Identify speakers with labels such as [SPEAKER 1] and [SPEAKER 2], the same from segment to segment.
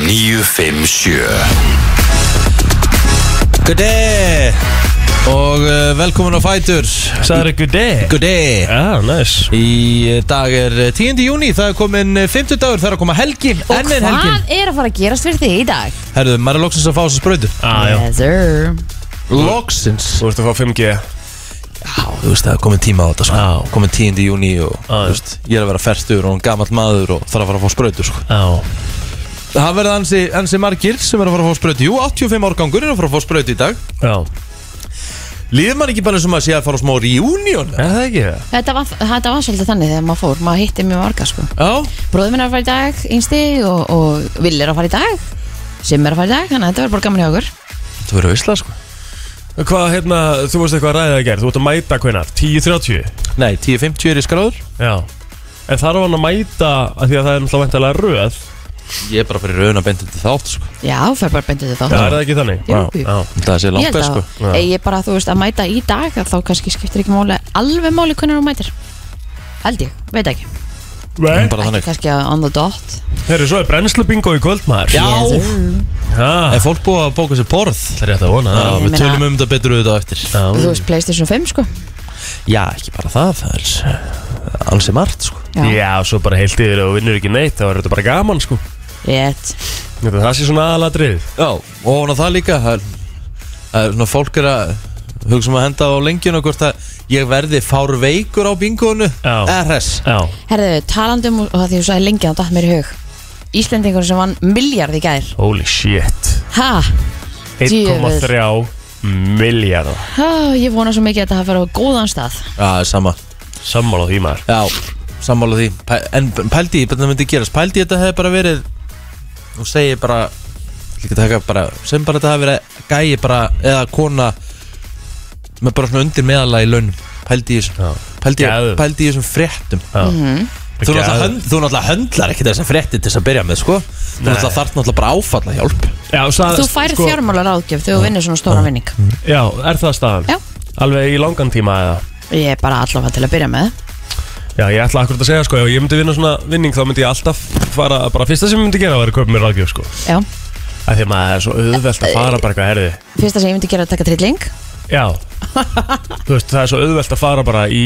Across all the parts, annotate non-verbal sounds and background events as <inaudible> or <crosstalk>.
[SPEAKER 1] 957
[SPEAKER 2] Gudi Og uh, velkomin á Fætur
[SPEAKER 3] Sæður ykkur deg
[SPEAKER 2] Gudi
[SPEAKER 3] Já, næs
[SPEAKER 2] Í uh, dag er 10. júni, það er komin 50 dagur, það er að koma helgi
[SPEAKER 4] Og
[SPEAKER 2] enn er helgin
[SPEAKER 4] hvað er að fara að gerast fyrir þig í dag?
[SPEAKER 2] Herðu, maður er loksins að fá þess að spröytu
[SPEAKER 3] ah, já.
[SPEAKER 4] Yes, sir.
[SPEAKER 2] Loksins
[SPEAKER 3] Þú ert að fá 5G
[SPEAKER 2] Já, þú veist, það er komin tíma á þetta sko. Komin 10. júni og
[SPEAKER 3] Já,
[SPEAKER 2] þú veist, ég er að vera fertur og gammal maður og þarf að fara að fá spröytu sko.
[SPEAKER 3] Já
[SPEAKER 2] Það verða ansi, ansi margir sem er að fara að fá spröytu Jú, 85 árgangur er að fara að fá spröytu í dag
[SPEAKER 3] Já
[SPEAKER 2] Líður maður ekki bara sem að sé að fara á smá reunion?
[SPEAKER 3] Er það ekki það?
[SPEAKER 4] Þetta var, þetta var svolítið þannig þegar maður fór, maður hitti mjög marga sko.
[SPEAKER 2] Já,
[SPEAKER 4] Bróður minn er að fara í dag, einsti og, og Vill er að fara í dag, Sim er að fara í dag, þannig að þetta var bara gaman hjá okkur.
[SPEAKER 2] þetta verður veistlega sko
[SPEAKER 3] Hvað, hérna, þú veist eitthvað að ræða að gera Þú ert að mæta hvenar, 10.30
[SPEAKER 2] Nei, 10.50 er í skráður
[SPEAKER 3] Já En þarf hann að mæta að Því að það er náttúrulega væntalega röð
[SPEAKER 2] Ég er bara fyrir raun að benda til þátt sko.
[SPEAKER 4] Já, fer bara bendið
[SPEAKER 3] Já,
[SPEAKER 4] þau þátt.
[SPEAKER 3] er það ekki þannig?
[SPEAKER 4] Jú, jú.
[SPEAKER 3] Já
[SPEAKER 2] Það sé
[SPEAKER 4] Ég
[SPEAKER 2] langt
[SPEAKER 4] held
[SPEAKER 2] best
[SPEAKER 4] að,
[SPEAKER 2] sko.
[SPEAKER 3] Já.
[SPEAKER 4] Ey, ég bara, þú veist, að mæta í dag, að þá kannski skiptir ekki máli, alveg máli hvernig hún mætir. Held ég, veit ekki.
[SPEAKER 3] Nei
[SPEAKER 2] Bara
[SPEAKER 4] Ekki
[SPEAKER 2] þannig
[SPEAKER 4] kannski að on the dot.
[SPEAKER 3] Herru, svo er brennslu bingo í kvöld, maður
[SPEAKER 2] Já.
[SPEAKER 3] Það
[SPEAKER 2] Er fólk búið að bóka sér borð?
[SPEAKER 3] er rétt að vona
[SPEAKER 2] Já, við
[SPEAKER 3] það.
[SPEAKER 4] Ég meina-
[SPEAKER 2] tölum um þetta betur auðvitað á eftir
[SPEAKER 4] Þú
[SPEAKER 3] Já
[SPEAKER 4] veist, Playstation 5 sko.
[SPEAKER 2] Já, ekki bara það, það er uh, alls er margt sko.
[SPEAKER 4] Já.
[SPEAKER 3] Já, svo bara heilt yfir og vinnur ekki neitt þá er þetta bara gaman, sko
[SPEAKER 4] Rétt.
[SPEAKER 3] Ég held að Það sé svona aðalatrið
[SPEAKER 2] Já, og ofan á það líka það er, það er svona fólk er að hugsa um að henda á lengjun og hvort að ég verði fár veikur á bingoinu
[SPEAKER 3] Já.
[SPEAKER 2] RS
[SPEAKER 3] Já
[SPEAKER 4] Herðu, talandum og það því þú sagði lengi þá datt mér í hug Íslendingur sem vann miljard í gær
[SPEAKER 3] Holy shit
[SPEAKER 4] Ha,
[SPEAKER 3] 1,3 miljardar
[SPEAKER 4] ha ég vona svo mikið að þetta hafa farið á góðan stað
[SPEAKER 2] Já, sama
[SPEAKER 3] Sammála því maður
[SPEAKER 2] Já, sammála því Pæ, En pældi, ég það myndi gerast Pældi þetta hefði bara verið Nú segi ég bara Líka taka bara Sem bara þetta hefði verið gæi bara Eða kona Með bara svona undir meðalega í launum Pældi í
[SPEAKER 3] Já.
[SPEAKER 2] þessum Pældi,
[SPEAKER 3] Geðveikt.
[SPEAKER 2] pældi í þessum fréttum
[SPEAKER 3] mm
[SPEAKER 4] Mhm.
[SPEAKER 2] Þú náttúrulega, hönd, þú náttúrulega höndlar ekki þessa frétti til þess að byrja með sko Þú náttúrulega þarf náttúrulega bara áfalla hjálp
[SPEAKER 3] já, sað,
[SPEAKER 4] Þú færð sko, fjármálar áðgjöf þegar þú vinnur svona stóra vinning
[SPEAKER 3] Já, er það staðan?
[SPEAKER 4] Já.
[SPEAKER 3] Alveg í langan tíma eða?
[SPEAKER 4] Ég er bara allavega til að byrja með
[SPEAKER 3] Já, ég ætla akkurat að segja sko Ef ég myndi vinna svona vinning þá myndi ég alltaf fara Bara fyrsta sem ég myndi gera var að köpa mér ráðgjöf sko
[SPEAKER 4] Já,
[SPEAKER 3] Af Því að maður er svo auðvelt að fara bara eitthvað herði
[SPEAKER 4] fyrsta sem ég myndi gera er að taka trilling
[SPEAKER 3] Já
[SPEAKER 4] <laughs>
[SPEAKER 3] Þú veist, það er svo auðvelt að fara bara í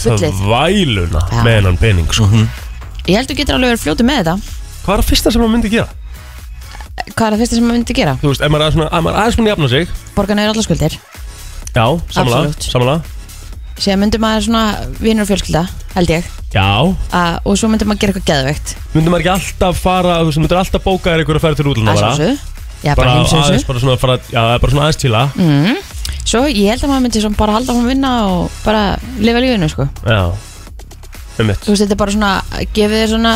[SPEAKER 4] Fullið.
[SPEAKER 3] Þvæluna
[SPEAKER 4] Já. Mhm.
[SPEAKER 3] með hennan pening sko
[SPEAKER 4] Ég held þú getur alveg verið fljótu með þetta
[SPEAKER 3] Hvað er að fyrsta sem maður myndi gera?
[SPEAKER 4] Hvað er það fyrsta sem ég myndi gera?
[SPEAKER 3] Þú veist, ef maður er svona- ef maður er aðeins svona jafna sig
[SPEAKER 4] Borga neyður allar skuldir
[SPEAKER 3] Já, samanlega,
[SPEAKER 4] Absolutt.
[SPEAKER 3] samanlega
[SPEAKER 4] Sér myndi maður svona vinnur og fjölskylda, held ég
[SPEAKER 3] Já,
[SPEAKER 4] A, Og svo myndi maður gera eitthvað geðveikt
[SPEAKER 3] myndum maður ekki alltaf fara þú veist, myndir alltaf bóka þér einhverju að fara til útlanda
[SPEAKER 4] Að
[SPEAKER 3] bara?
[SPEAKER 4] sjálfsögðu. Já, bara
[SPEAKER 3] bara
[SPEAKER 4] heimsins eh? Mm.
[SPEAKER 3] aðeins bara svona, fara, já, bara svona aðeins til að
[SPEAKER 4] Svo ég held að maður myndi svona bara halda hún að vinna og bara lifa lífinu sko.
[SPEAKER 3] já, með mitt
[SPEAKER 4] Þú veist þetta er bara svona gefið þér svona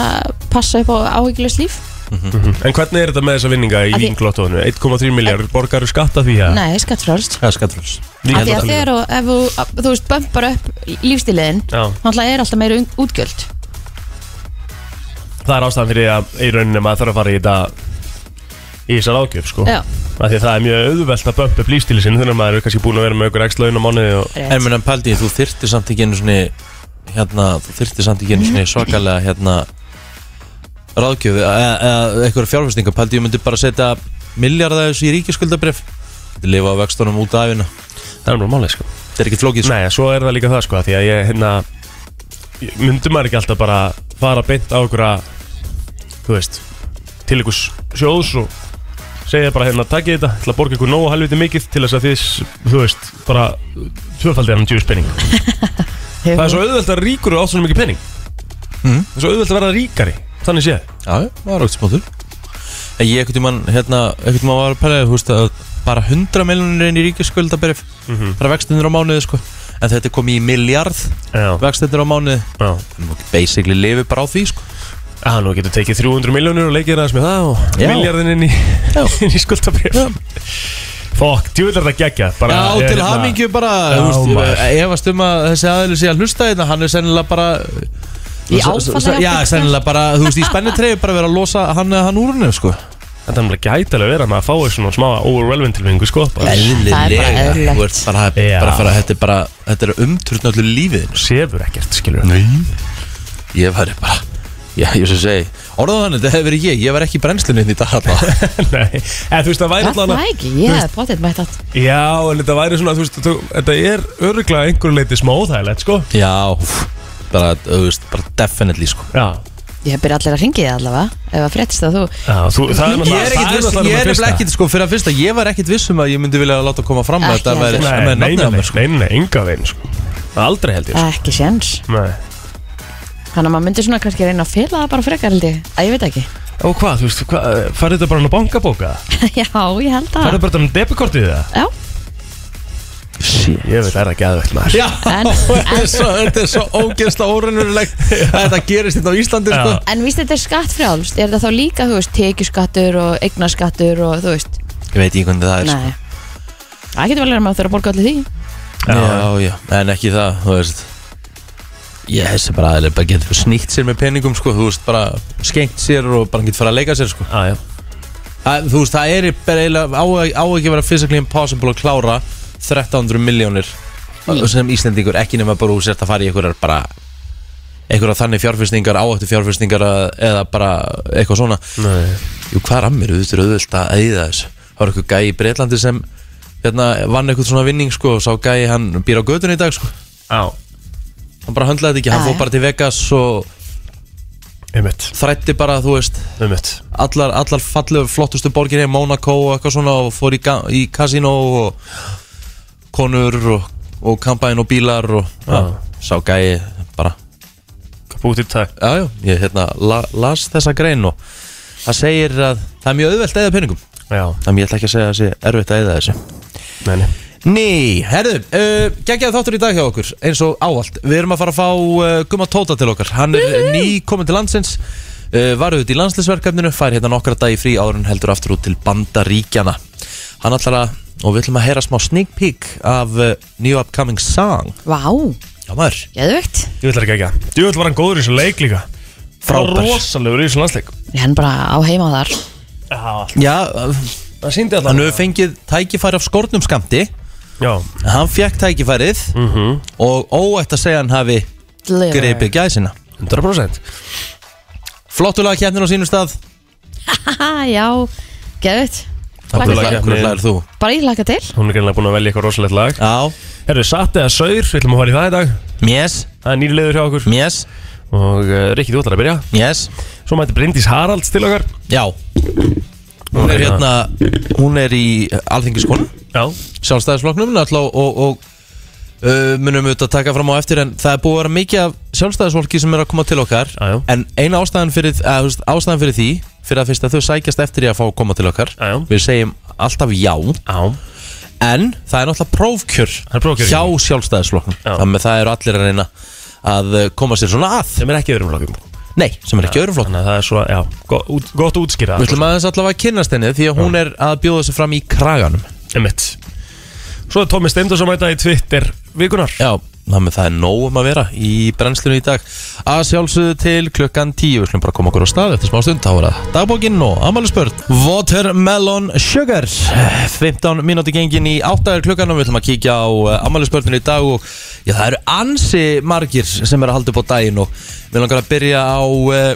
[SPEAKER 4] passa upp á áhyggjulust líf
[SPEAKER 3] en hvernig er þetta með þessa vinninga í
[SPEAKER 4] Mm. Af því-
[SPEAKER 3] vinglottónu 1,3 miljard, borgaru skatta því að
[SPEAKER 4] Nei, skattfrálst
[SPEAKER 2] Það er skattrúls
[SPEAKER 4] Af því að þegar og ef þú, að- þú veist bömpar upp lífstíliðin
[SPEAKER 3] Já.
[SPEAKER 4] Þannig er alltaf meira ung- útgjöld
[SPEAKER 3] það er ástæðan fyrir að í rauninni maður þarf að fara í þetta í þessar ágjöf sko
[SPEAKER 4] Já,
[SPEAKER 3] Af því að það er mjög auðvelt að bömpa upp lífstíli sinni þegar maður er kannski búin að vera með ykkur ekstra laun á mánuði og
[SPEAKER 4] rétt
[SPEAKER 2] En mér enn pældi, þú þyrtir samt ekki einu svona hérna, þú þyrtir samt ekki einu svona svakalega hérna ráðgjöf eða eða einhverja fjárfæstinga pældi, ég myndi bara setja miljardar þessu í ríkiskuldabref Þetta lifa á vextunum út af hérna
[SPEAKER 3] það er mjög málið sko
[SPEAKER 2] Þetta er ekki flókið sko.
[SPEAKER 3] Nei, svo er það líka það sko, því að ég, hérna, ég- myndi maður ekki alltaf bara fara beint á okkur að, þú veist, til ykkur sjóðs og segja bara hérna, takkið þetta, ætla að borga ykkur nógu helviti mikið til þess að þið, s- þú veist, bara tvöfaldið hann djúis penning. Það er svo auðvelt að ríkur og átt svona mikið penning.
[SPEAKER 2] Mhm.
[SPEAKER 3] Það er svo auðvelt að vera ríkari, þannig séð.
[SPEAKER 2] Já, já, það var okkur smátur En ég ekkert mann, hérna, ekkert mann var að pæla þú veist að bara 100 miljonir inn í ríkiskuldabref bara vextunir á mánuði sko En þetta er komið í miljard
[SPEAKER 3] Já,
[SPEAKER 2] vextunir á mánuði
[SPEAKER 3] já.
[SPEAKER 2] Nú, Basically lifi bara á því sko
[SPEAKER 3] Já, Ah, nú getur tekið 300 miljónur og leikið aðeins með það og
[SPEAKER 2] Já.
[SPEAKER 3] miljardin inn í,
[SPEAKER 2] Já.
[SPEAKER 3] <laughs> inn í skuldabrif.
[SPEAKER 2] Já.
[SPEAKER 3] Fokk, djúvillar það gegja.
[SPEAKER 2] Já, til hamingju bara
[SPEAKER 3] hérna- Já,
[SPEAKER 2] þú veist,
[SPEAKER 3] maður.
[SPEAKER 2] Ég efast um að þessi aðeins sé að hlusta þetta Hann er sennilega bara
[SPEAKER 4] Í
[SPEAKER 2] s- s-
[SPEAKER 4] áfallahjálp,
[SPEAKER 2] Já,
[SPEAKER 4] ekki?
[SPEAKER 2] sennilega bara, þú veist, í spennitreyju bara verið að losa hann eða hann úr henni, sko
[SPEAKER 3] Þetta er náttúrulega gætilega verið að maður fái svona smá overwhelming tilfinningu sko bara
[SPEAKER 4] Það er bara eðlilegt.
[SPEAKER 2] Þú ert bara,
[SPEAKER 3] Já.
[SPEAKER 2] bara fara, þetta er bara Þetta er umturðn öllu lífið þínu,
[SPEAKER 3] Sefur ekkert skilur
[SPEAKER 2] sko. Ég væri bara Já, ég svo segi Orðað þannig, þetta hefur verið ég, ég var ekki í brennslunni hérna í dag
[SPEAKER 3] <laughs>
[SPEAKER 2] allavega.
[SPEAKER 3] <laughs> Nei, eða þú veist það væri
[SPEAKER 4] Það
[SPEAKER 3] allavega
[SPEAKER 4] er ekki, ég hef potið mætt að
[SPEAKER 3] Já, en þetta væri svona, þú veist, þú, þetta er öruglega einhverju leiti smá óþægilegt, sko
[SPEAKER 2] Já, úff, bara, þú veist, bara definitely sko
[SPEAKER 3] Já,
[SPEAKER 4] Ég byrja allir að ringi þig allavega Ef að fréttist að þú
[SPEAKER 3] já þú, það er
[SPEAKER 2] Ég er
[SPEAKER 3] það
[SPEAKER 2] ekkert viss, ég er
[SPEAKER 3] náttúrulega fyrsta.
[SPEAKER 2] nefnilega ekkert, sko, fyrir að fyrsta, ég var ekkert viss um að ég myndi vilja láta koma fram að
[SPEAKER 4] Ekki
[SPEAKER 2] þetta væri
[SPEAKER 4] heldur.
[SPEAKER 2] með
[SPEAKER 3] Nei, nei,
[SPEAKER 2] nafnið á
[SPEAKER 3] nei,
[SPEAKER 2] mér, sko.
[SPEAKER 3] nei, nei, enga veginn, sko Aldrei held ég,
[SPEAKER 4] Ekki séns
[SPEAKER 3] sko Nei
[SPEAKER 4] Þannig að maður myndi svona kannski reyna að fela það bara frekar held ég Að ég veit
[SPEAKER 3] <laughs>
[SPEAKER 4] ekki
[SPEAKER 3] Og hvað, þú veist, hvað, farið þetta bara hann á bankabóka?
[SPEAKER 4] Já, ég held
[SPEAKER 3] Farið
[SPEAKER 4] að
[SPEAKER 3] bara hann á debikortið það?
[SPEAKER 4] Já,
[SPEAKER 3] Ég veit, það er ekki aðvegt maður
[SPEAKER 2] Já,
[SPEAKER 4] En-
[SPEAKER 2] <laughs> þetta er svo, þetta er svo ógeðsla órennurlegt að þetta gerist hérna á Íslandi sko.
[SPEAKER 3] Já.
[SPEAKER 4] en víst þetta er skattfrjálst Er þetta þá líka, þú veist, tekjuskattur og eignaskattur og þú veist
[SPEAKER 2] Ég veit ekki hvernig það er sko.
[SPEAKER 4] Nei Það getur vel verið að maður þurfa að borga allir því
[SPEAKER 3] Já.
[SPEAKER 2] Já, já, en ekki það, þú veist Ég hessi bara aðeins, bara getur snýtt sér með peningum sko, þú veist, bara skengt sér og bara getur fara að leika sér sko
[SPEAKER 3] Já, já
[SPEAKER 2] að, Þú veist, það er bara eiginlega, á, á ekki að vera physically impossible að klára 1300 miljónir sem Íslendingur, ekki nema bara úr sért að fara í einhverjar bara einhverjar þannig fjárfyrstingar, áhættu fjárfyrstingar eða bara eitthvað svona
[SPEAKER 3] Nei
[SPEAKER 2] Jú, hvað rammir, þú veist, er auðvöld að eyða þessu Það var eitthvað gæi í Breitlandi sem hérna, vann eitthvað svona vinning sko og sá gæi hann býr á götunni í dag sko
[SPEAKER 3] Já
[SPEAKER 2] hann bara höndlaði þetta ekki, hann
[SPEAKER 4] Já,
[SPEAKER 2] fór
[SPEAKER 4] já.
[SPEAKER 2] bara til Vegas og
[SPEAKER 3] Einmitt,
[SPEAKER 2] þrætti bara, þú veist,
[SPEAKER 3] einmitt
[SPEAKER 2] allar, allar fallegu flottustu borginni, Monaco og eitthvað svona og fór í, ga- í kasino og konur og, og kampæn og bílar og ja, sá gæi bara
[SPEAKER 3] Bútið takk
[SPEAKER 2] já, já, ég hérna la, las þessa grein og það segir að það er mjög auðvelt að eða peningum
[SPEAKER 3] Já,
[SPEAKER 2] þannig ég ætla ekki að segja að það sé erfitt að eða þessu
[SPEAKER 3] neini
[SPEAKER 2] Ný, herðu, uh, geggjaði þáttur í dag hjá okkur eins og ávallt, við erum að fara að fá uh, Gumma Tóta til okkar, hann er ný komin til landsins, uh, var auðvitað í landslisverkefninu fær hérna nokkra dag í frí árun heldur aftur út til bandaríkjana hann ætlar að, og við ætlum að heyra smá sneak peek af uh, New Upcoming Song
[SPEAKER 4] Vá,
[SPEAKER 2] Já maður,
[SPEAKER 4] geðvögt
[SPEAKER 3] Ég vil ekki ekki Ég vil var hann góður í þessu leik líka
[SPEAKER 2] Frábær.
[SPEAKER 3] Rósalegur í þessu landsleik
[SPEAKER 4] Hann bara á heima þar
[SPEAKER 3] Já, alltaf
[SPEAKER 2] já, uh,
[SPEAKER 3] Það síndi alltaf
[SPEAKER 2] hann hefur fengið tækifæri af skórnum skamti
[SPEAKER 3] Já
[SPEAKER 2] hann fekk tækifærið
[SPEAKER 3] Mm. Mhm.
[SPEAKER 2] og óætt að segja hann hafi
[SPEAKER 4] Deliver.
[SPEAKER 2] greipið gæsina
[SPEAKER 3] 100%
[SPEAKER 2] flottulega keppnin á sínum stað
[SPEAKER 4] Haha, já, geðvögt
[SPEAKER 2] Hvernig
[SPEAKER 3] Flottulega keppnin.
[SPEAKER 2] lagir þú?
[SPEAKER 4] Bara ég laka til
[SPEAKER 3] Hún er greinlega búin að velja eitthvað rosalegt lag
[SPEAKER 2] Já,
[SPEAKER 3] Herru, satt eða saur Við ætlum að fara í það í dag
[SPEAKER 2] mjess,
[SPEAKER 3] Það er nýri leiður hjá okkur
[SPEAKER 2] mjess,
[SPEAKER 3] Og uh, Rikki, þú ætlar að byrja
[SPEAKER 2] mjess
[SPEAKER 3] Svo mætti Bryndís Haralds til okkar
[SPEAKER 2] Já Hún er hérna, hún er í alþingiskonu
[SPEAKER 3] Já
[SPEAKER 2] Sjálfstæðisflokknum náttúrulega og, og, og uh, munum auðvitað að taka fram á eftir En það er búið að vera mikið af sjálfstæðisfólki sem er að koma til okkar
[SPEAKER 3] Já, já.
[SPEAKER 2] En eina ástæðan fyrir, að, veist, ástæðan fyrir því Fyrir að fyrst að þau sækjast eftir í að fá að koma til okkar
[SPEAKER 3] Já, já.
[SPEAKER 2] Við segjum alltaf já
[SPEAKER 3] Já
[SPEAKER 2] En það er náttúrulega prófkjör
[SPEAKER 3] Það er prófkjör,
[SPEAKER 2] Hjá
[SPEAKER 3] já.
[SPEAKER 2] sjálfstæðisflokknum
[SPEAKER 3] Já.
[SPEAKER 2] Þannig að það eru allir að reyna að uh, koma sér svona að
[SPEAKER 3] Sem er ekki í öðrum flokkum
[SPEAKER 2] Nei, sem er ekki öðrum flokk
[SPEAKER 3] Þannig að það er svo, já, gott, út, gott útskýra
[SPEAKER 2] Við ætlum aðeins allavega að kynnast henni því að hún er að bjóða sig fram í kraganum
[SPEAKER 3] Emitt Svo er Tómi Steindur sem mæta í Twitter vikunar
[SPEAKER 2] Já, þannig það er nóg um að vera í brennslinu í dag að sjálfsögðu til klukkan 10 Við ætlum bara að koma okkur á stað eftir smá stund þá er það dagbókinn og amalispörn Watermelon Sugar 15 mínúti gengin í 8 er klukkan og við ætlum að kíkja á amalispörninu í dag og já, það eru ansi margir sem er að halda upp á daginn og við langar að byrja á uh,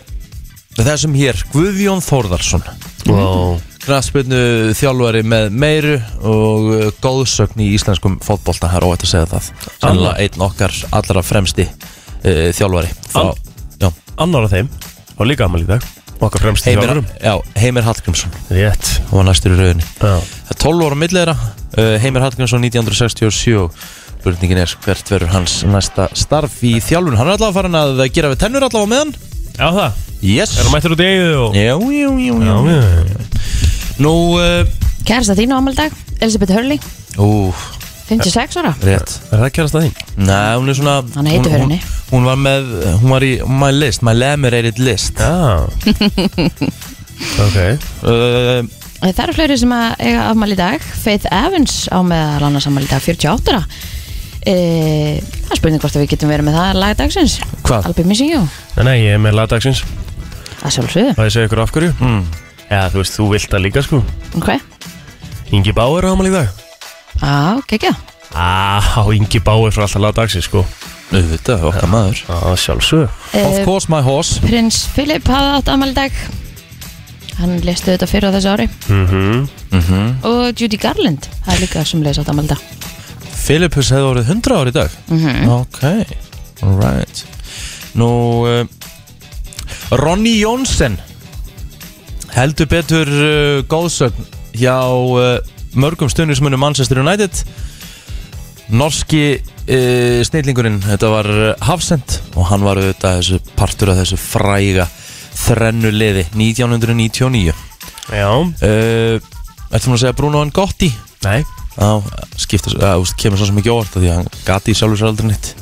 [SPEAKER 2] þessum hér Guðjón Þórðarsson
[SPEAKER 3] wow.
[SPEAKER 2] knastbyrnu þjálfari með meiru og uh, góðsögn í íslenskum fótbolta, það er óætt að segja það sannlega einn okkar allra fremsti uh, þjálfari
[SPEAKER 3] Al-
[SPEAKER 2] já,
[SPEAKER 3] Annar af þeim Og líka amal í dag Okkar fremst í
[SPEAKER 2] Heimir,
[SPEAKER 3] þjálfurum
[SPEAKER 2] já, Heimir Hallgrímsson
[SPEAKER 3] Rétt
[SPEAKER 2] og var næstur í rauninni
[SPEAKER 3] Já
[SPEAKER 2] það er 12 ára millera, uh, Heimir Hallgrímsson 1967 spurningin er hvert verður hans næsta starf í þjálfun hann er allavega farin að gera við tennur allavega á meðan
[SPEAKER 3] Já það
[SPEAKER 2] yes
[SPEAKER 3] Er hann mættur út í eigið og
[SPEAKER 2] já, já, já,
[SPEAKER 3] Já,
[SPEAKER 2] já.
[SPEAKER 3] já, já.
[SPEAKER 2] nú uh,
[SPEAKER 4] Kærasta þín á amaldag, Elisabeth Hurley
[SPEAKER 2] ú,
[SPEAKER 4] 56 ára
[SPEAKER 2] rétt
[SPEAKER 3] Er það kærast að þín?
[SPEAKER 2] Nei, hún er svona
[SPEAKER 4] Hann er heitur
[SPEAKER 2] hún-
[SPEAKER 4] henni.
[SPEAKER 2] hún, hún var með, hún var í my list, my lamerated list <laughs>
[SPEAKER 3] Já Ok
[SPEAKER 2] uh,
[SPEAKER 4] Eh, Það eru fleiri sem að eiga afmæli í dag Faith Evans á meðal annars afmæli í dag 48 ára e, Það er spurning hvort að við getum verið með það lagdagsins
[SPEAKER 2] Hvað?
[SPEAKER 4] Albi Missing You
[SPEAKER 3] Nei, nei, ég er með lagdagsins
[SPEAKER 4] Það sjálfsögðu
[SPEAKER 3] Og ég segja ykkur af hverju
[SPEAKER 2] mm,
[SPEAKER 3] Já, þú veist, þú vilt það líka sko
[SPEAKER 4] Ok
[SPEAKER 3] Ingi Báir á amal í dag
[SPEAKER 4] Á, kekja
[SPEAKER 3] Á, Ingi Báir frá alltaf lagdagsins sko
[SPEAKER 2] Auðvitað, okkar maður
[SPEAKER 3] Já, sjálfsög
[SPEAKER 2] Of course my horse
[SPEAKER 4] E, Prins Philip hafði átt afmæli í dag Hann lestu þetta fyrir á þessu ári
[SPEAKER 3] mm -hmm.
[SPEAKER 2] Mhm. Mm.
[SPEAKER 4] Og Judy Garland, það er líka sem leist átt afmæli í dag
[SPEAKER 2] Philippus hefði orðið 100 ár í dag
[SPEAKER 4] Mhm.
[SPEAKER 2] Ok, alright Nú uh, Ronny Jónsson heldur betur uh, góðsögn hjá uh, mörgum stundismunum Manchester United Norski uh, snillingurinn, þetta var uh, Hafsend og hann var auðvitað þessu partur af þessu fræga þrennu liði 1999
[SPEAKER 3] Já,
[SPEAKER 2] uh, Ertu mér að segja Bruno en Gotti?
[SPEAKER 3] nei
[SPEAKER 2] Já, skipta, að, úst, kemur svo sem ekki óvart af því að hann gati í sjálfur sér aldrei nýtt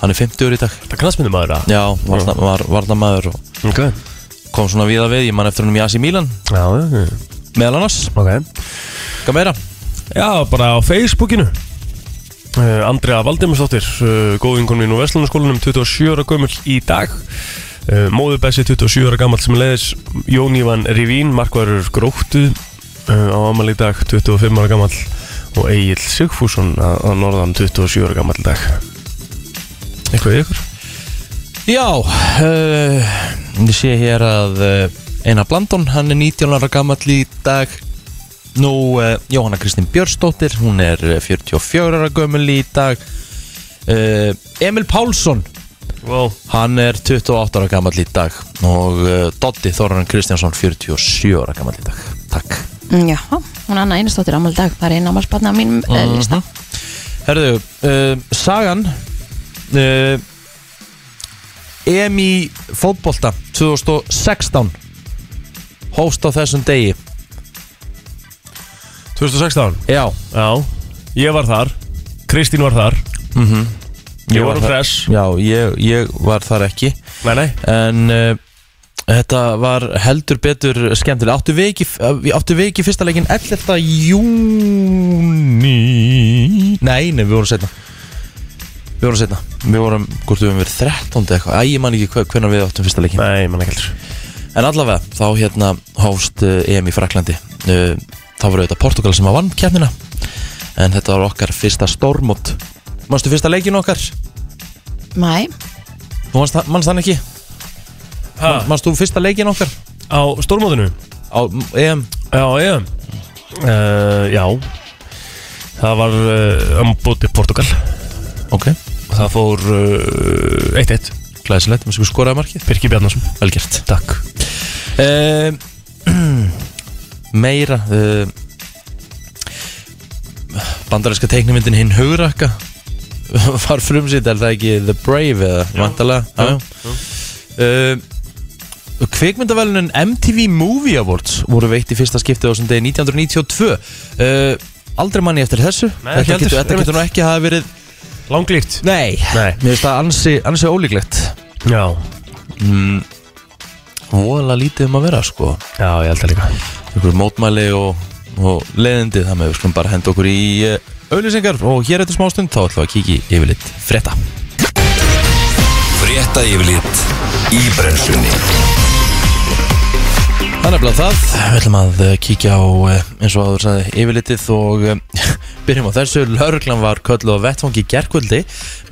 [SPEAKER 2] Hann er 50 í dag
[SPEAKER 3] Þetta knastmyndum aðra
[SPEAKER 2] Já, varna, var, varnamaður og
[SPEAKER 3] Ok
[SPEAKER 2] kom svona við að við, ég man eftir hennum í Asi Milan
[SPEAKER 3] Já, já, já.
[SPEAKER 2] meðal annars,
[SPEAKER 3] ok
[SPEAKER 2] hvað meira?
[SPEAKER 3] Já, bara á Facebookinu uh, Andrea Valdimarsdóttir uh, góðingunni nú Vestlunarskólanum 27 ára gömul í dag uh, Móður Bessi 27 ára gammal sem leiðis Jón Ívan Rivín, markvarur gróttu uh, á amal í dag 25 ára gammal og Egil Sigfússon á á norðan 27 ára gammal í dag Eitthvað í ykkur?
[SPEAKER 2] Já, uh, ég sé hér að uh, Einar Blandon, hann er 19 ára gamall í dag Nú, uh, Jóhanna Kristín Björnsdóttir, hún er eh, 44 ára gömul í dag uh, Emil Pálsson,
[SPEAKER 3] Wow.
[SPEAKER 2] hann er 28 ára gamall í dag og uh, Doddi Þorran Kristjánsson, 47 ára gamall í dag Takk
[SPEAKER 4] Mm, Já, hún Anna Einarsdóttir afmæli í dag Það er einn afmælsbarni á mínum mm
[SPEAKER 3] Mhm.
[SPEAKER 4] lista
[SPEAKER 2] Herðu, uh, sagan uh, EM í fótbolta 2016 Hóst á þessum degi
[SPEAKER 3] 2016
[SPEAKER 2] Já,
[SPEAKER 3] Já, ég var þar Kristín var þar Ég var um
[SPEAKER 2] þar-
[SPEAKER 3] fress
[SPEAKER 2] Já, ég, ég var þar ekki
[SPEAKER 3] Nei, nei
[SPEAKER 2] En uh, þetta var heldur betur skemmtilega Áttu við ekki, við áttu við ekki fyrsta leikin 11. júni Nei, nei, við vorum setna Við vorum setna Við vorum, hvort við höfum verið 13 eða eitthvað Æ, ég man ekki hvernig við áttum fyrsta leikin
[SPEAKER 3] Nei, mann ekki heldur
[SPEAKER 2] En allavega, þá hérna hófst uh, EM í Fraklandi uh, Þá var auðvitað Portugal sem að vann keppnina En þetta var okkar fyrsta stórmót Manstu fyrsta leikin okkar?
[SPEAKER 4] Mæ,
[SPEAKER 2] Þú manst, það- manst þann ekki?
[SPEAKER 3] Ha,
[SPEAKER 2] Manst þú fyrsta leikin okkar?
[SPEAKER 3] á stórmóðinu?
[SPEAKER 2] Á m, EM?
[SPEAKER 3] Já, ég uh, Já Það var uh, um bóti Portugal
[SPEAKER 2] Ok
[SPEAKER 3] Það fór uh, 1-1
[SPEAKER 2] Glæsilegt, maður sko skoraði markið
[SPEAKER 3] Birki Bjarnason
[SPEAKER 2] Velgjert
[SPEAKER 3] Takk
[SPEAKER 2] uh, <clears throat> Meira uh, Bandarinska teiknumyndin hinn hugrakka <laughs> var frumsýnd er það ekki The Brave eða vantalega
[SPEAKER 3] já,
[SPEAKER 2] uh, Kvikmyndavælunin MTV Movie Awards voru veitt í fyrsta skiptið á sem degi 1992 uh, Aldrei manni eftir þessu
[SPEAKER 3] Nei, ekki
[SPEAKER 2] Þetta getur,
[SPEAKER 3] heldur,
[SPEAKER 2] þetta getur nú ekki hafa verið
[SPEAKER 3] Langlíkt
[SPEAKER 2] Nei,
[SPEAKER 3] Nei.
[SPEAKER 2] mér finnst það ansi, ansi ólíklegt
[SPEAKER 3] Já,
[SPEAKER 2] mm, Voðalega lítið um að vera sko
[SPEAKER 3] já, ég held það líka
[SPEAKER 2] einhverjum mótmæli og, og leiðindi þannig að við skulum bara henda okkur í eh, auglýsingar og hér eftir smástund þá ætlum við að kíkja í yfirleitt frétta
[SPEAKER 1] Frétta yfirlit í brennslunni
[SPEAKER 2] Þannig að það, við ætlum að eh, kíkja á eh, eins og áður sagði yfirlitið og eh, <laughs> byrjum á þessu lauruglan var kölluð á vettvangi gerkvöldi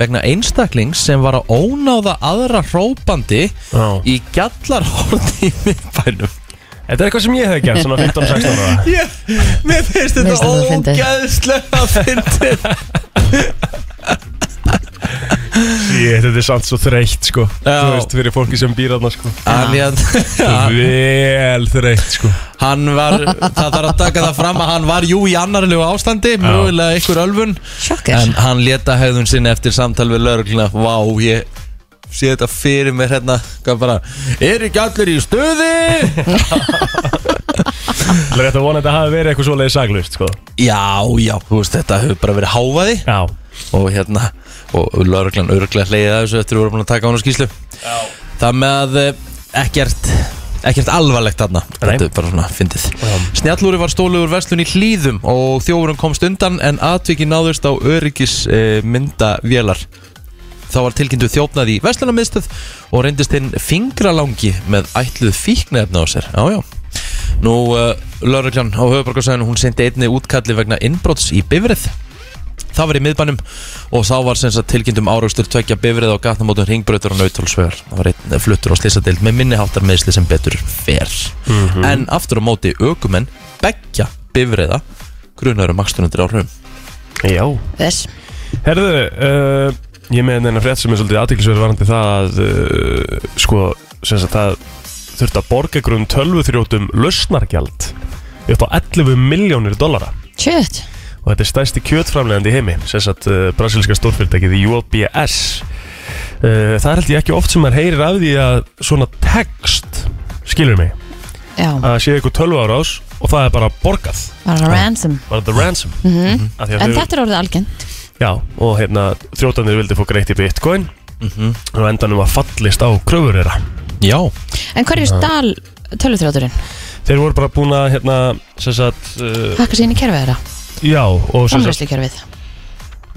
[SPEAKER 2] vegna einstaklings sem var að ónáða aðra hrópandi
[SPEAKER 3] Já.
[SPEAKER 2] í gjallarhorni í miðbænum
[SPEAKER 3] Þetta er eitthvað sem ég hef gert svona 15-16 <laughs> ára
[SPEAKER 2] Ég, mér finnst
[SPEAKER 4] Mér finnst
[SPEAKER 2] þetta
[SPEAKER 4] þetta fyndið.
[SPEAKER 2] ógæðslega fyndið
[SPEAKER 3] Ég, þetta er samt svo þreytt sko
[SPEAKER 2] Já.
[SPEAKER 3] Þú veist, fyrir fólki sem býr þarna sko
[SPEAKER 2] Alíðan
[SPEAKER 3] Vel þreytt sko
[SPEAKER 2] Hann var, það þarf að taka það fram að hann var jú í annarlegu ástandi, mögulega ykkur ölfun
[SPEAKER 4] sjokker
[SPEAKER 2] En hann leta hegðun sinni eftir samtal við laurugluna Vá, ég sé þetta fyrir mér hérna Hvað bara, er ekki allir í stuði?
[SPEAKER 3] Það er rétt að vona að þetta hafi verið eitthvað svoleiði saglust sko
[SPEAKER 2] já, já, þú veist, þetta hefur bara verið háfaði
[SPEAKER 3] Já
[SPEAKER 2] Og hérna, og lauruglan örglega hleyði að þessu eftir að við vorum búin að taka hann á skýslu
[SPEAKER 3] Já
[SPEAKER 2] Það með að eh, ekkert ekkert alvarlegt þarna
[SPEAKER 3] Nei.
[SPEAKER 2] þetta er bara svona fyndið Snjallúri var stóluður verslun í hlýðum og þjófurinn komst undan en atviki náðust á öryggis e, myndavélar þá var tilkynntu þjófnað í verslunarmiðstöð og reyndist hinn fingralangi með ætluð fíknefna á sér já eh, já Nú, uh, lauruglan á höfuborgarsæðinu, hún sendi einni útkalli vegna innbrots í bifrið Það var í miðbænum og þá var sem sagt um tilkynntum áraustur tvekja bifrið á gatnamótum ringbrötur og nautálsvegar. Það var einn fluttur á slissadeild með minniháttar meðsli sem betur fer. En aftur á móti aukumenn begja bifriða grunarum makstunundir áhrifum.
[SPEAKER 3] Já
[SPEAKER 4] Þess
[SPEAKER 3] Herðu, uh, ég með henni frétt sem er svolítið aðtiklisverð varandi það að uh, sko, sem sagt það þurfti að borga grunn tölvuþrjótum lausnargjald upp á 11 miljónir dollara
[SPEAKER 4] Shit
[SPEAKER 3] og þetta er stærsti kjötframlegandi í heimi sem sagt uh, brasilska stórfyrirtækið UBS uh, Það er held ég ekki oft sem maður heyrir af því að svona text skilur mig
[SPEAKER 4] Já,
[SPEAKER 3] að sé eitthvað 12 ára ás og það er bara borgað
[SPEAKER 4] bara ransom
[SPEAKER 3] var þetta ransom
[SPEAKER 4] mm
[SPEAKER 3] Af því að
[SPEAKER 4] En
[SPEAKER 3] þau-
[SPEAKER 4] þetta er orðið algengt
[SPEAKER 3] Já, og hérna þrjótanir vildi fá greitt í bitcoin og endanum að fallist á kröfur þeirra
[SPEAKER 2] Já,
[SPEAKER 4] En hverju stál tölvutráturinn?
[SPEAKER 3] Þeir voru bara búin að hérna, sem sagt uh,
[SPEAKER 4] Hakka sér inn í kerfið þeirra
[SPEAKER 3] Já, og sem sagt
[SPEAKER 4] Framræslu kerfið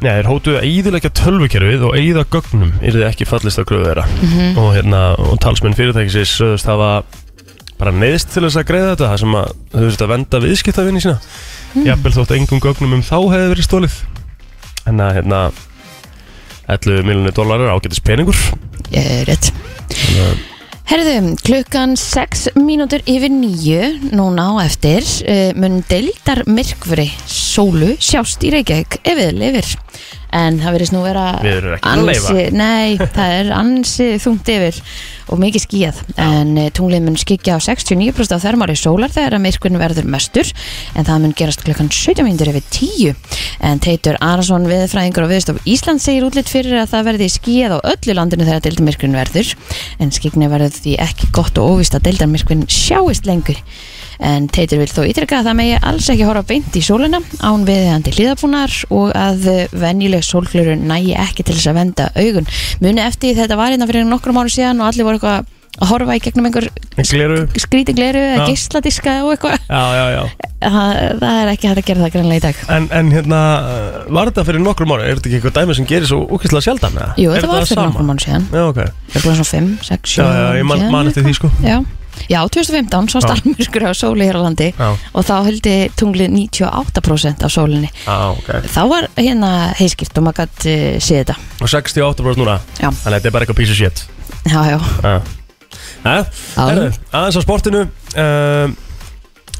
[SPEAKER 3] Nei, þeir hótuðu að íðilegja tölvukerfið og eigða gögnum yrði ekki fallist á kröfu þeirra og, hérna, og talsmenn fyrirtækisins sögðust hafa bara neyðst til þess að greiða þetta það sem að þau þurftu að venda viðskiptavinni sína jafnvel þótt engum gögnum um þá hefði verið stólið en að hérna 11 miljonir dólarar ágætis peningur
[SPEAKER 4] Ég er rétt Herðu, klukkan 6 mínútur yfir 9 núna á eftir uh, mun deildar myrkveri sólu sjást í Reykjavík ef við lifir en það verðist nú vera
[SPEAKER 3] Við erum ekki að leyfa.
[SPEAKER 4] ansi, nei, það er ansi þungt yfir og mikið skíðað en eh, tunglið mun skikja á 69% á þermári sólar þegar að myrkvinn verður mestur en það mun gerast klukkan 17 mínútur yfir 10 en Teitur Arason viðfræðingur og viðstof Ísland segir útlitt fyrir að það verði skíðað á öllu landinu þegar deildarmyrkvinn verður en skikni verður því ekki gott og óvist að deildarmyrkvinn sjáist lengur en Teitur vil þó ítrykka að það megi alls ekki horfa beint í sóluna án viðhandi hlýðabúnar og að eh, venjuleg sólglöru nægi ekki til þess að venda augun. Muni eftir þetta var hérna fyrir nokkrum árum síðan og allir voru eitthvað að horfa í gegnum einhver
[SPEAKER 3] Gleru
[SPEAKER 4] skrítingleru eða
[SPEAKER 3] Já.
[SPEAKER 4] geisladiska og eitthvað.
[SPEAKER 3] Já, já, já
[SPEAKER 4] Það, það er ekki hægt að gera það grannlega í dag.
[SPEAKER 3] En, en hérna, var þetta fyrir nokkrum ára? Er þetta ekki eitthvað dæmi sem gerir svo úkvæslega sjaldan? eða?
[SPEAKER 4] Jú,
[SPEAKER 3] Er
[SPEAKER 4] þetta var fyrir
[SPEAKER 3] sama?
[SPEAKER 4] nokkrum árum síðan.
[SPEAKER 3] Já, ok
[SPEAKER 4] Það var svona 5, 6, 7
[SPEAKER 3] Já, já, ég man, man eftir því sko
[SPEAKER 4] Já. Já, 2015 sást
[SPEAKER 3] Já.
[SPEAKER 4] almyrkur á sóli hér á landi
[SPEAKER 3] Já,
[SPEAKER 4] og þá höldi tunglið 98% af sólinni
[SPEAKER 3] já ok
[SPEAKER 4] þá var hérna heiskipt og maður gætt uh, séð þetta
[SPEAKER 3] og 68 bróðs núna
[SPEAKER 4] Já.
[SPEAKER 3] þannig að þetta er bara eitthvað piece of shit
[SPEAKER 4] já, já,
[SPEAKER 3] ja. Ja.
[SPEAKER 4] Já.
[SPEAKER 3] Herðu, aðeins á sportinu um,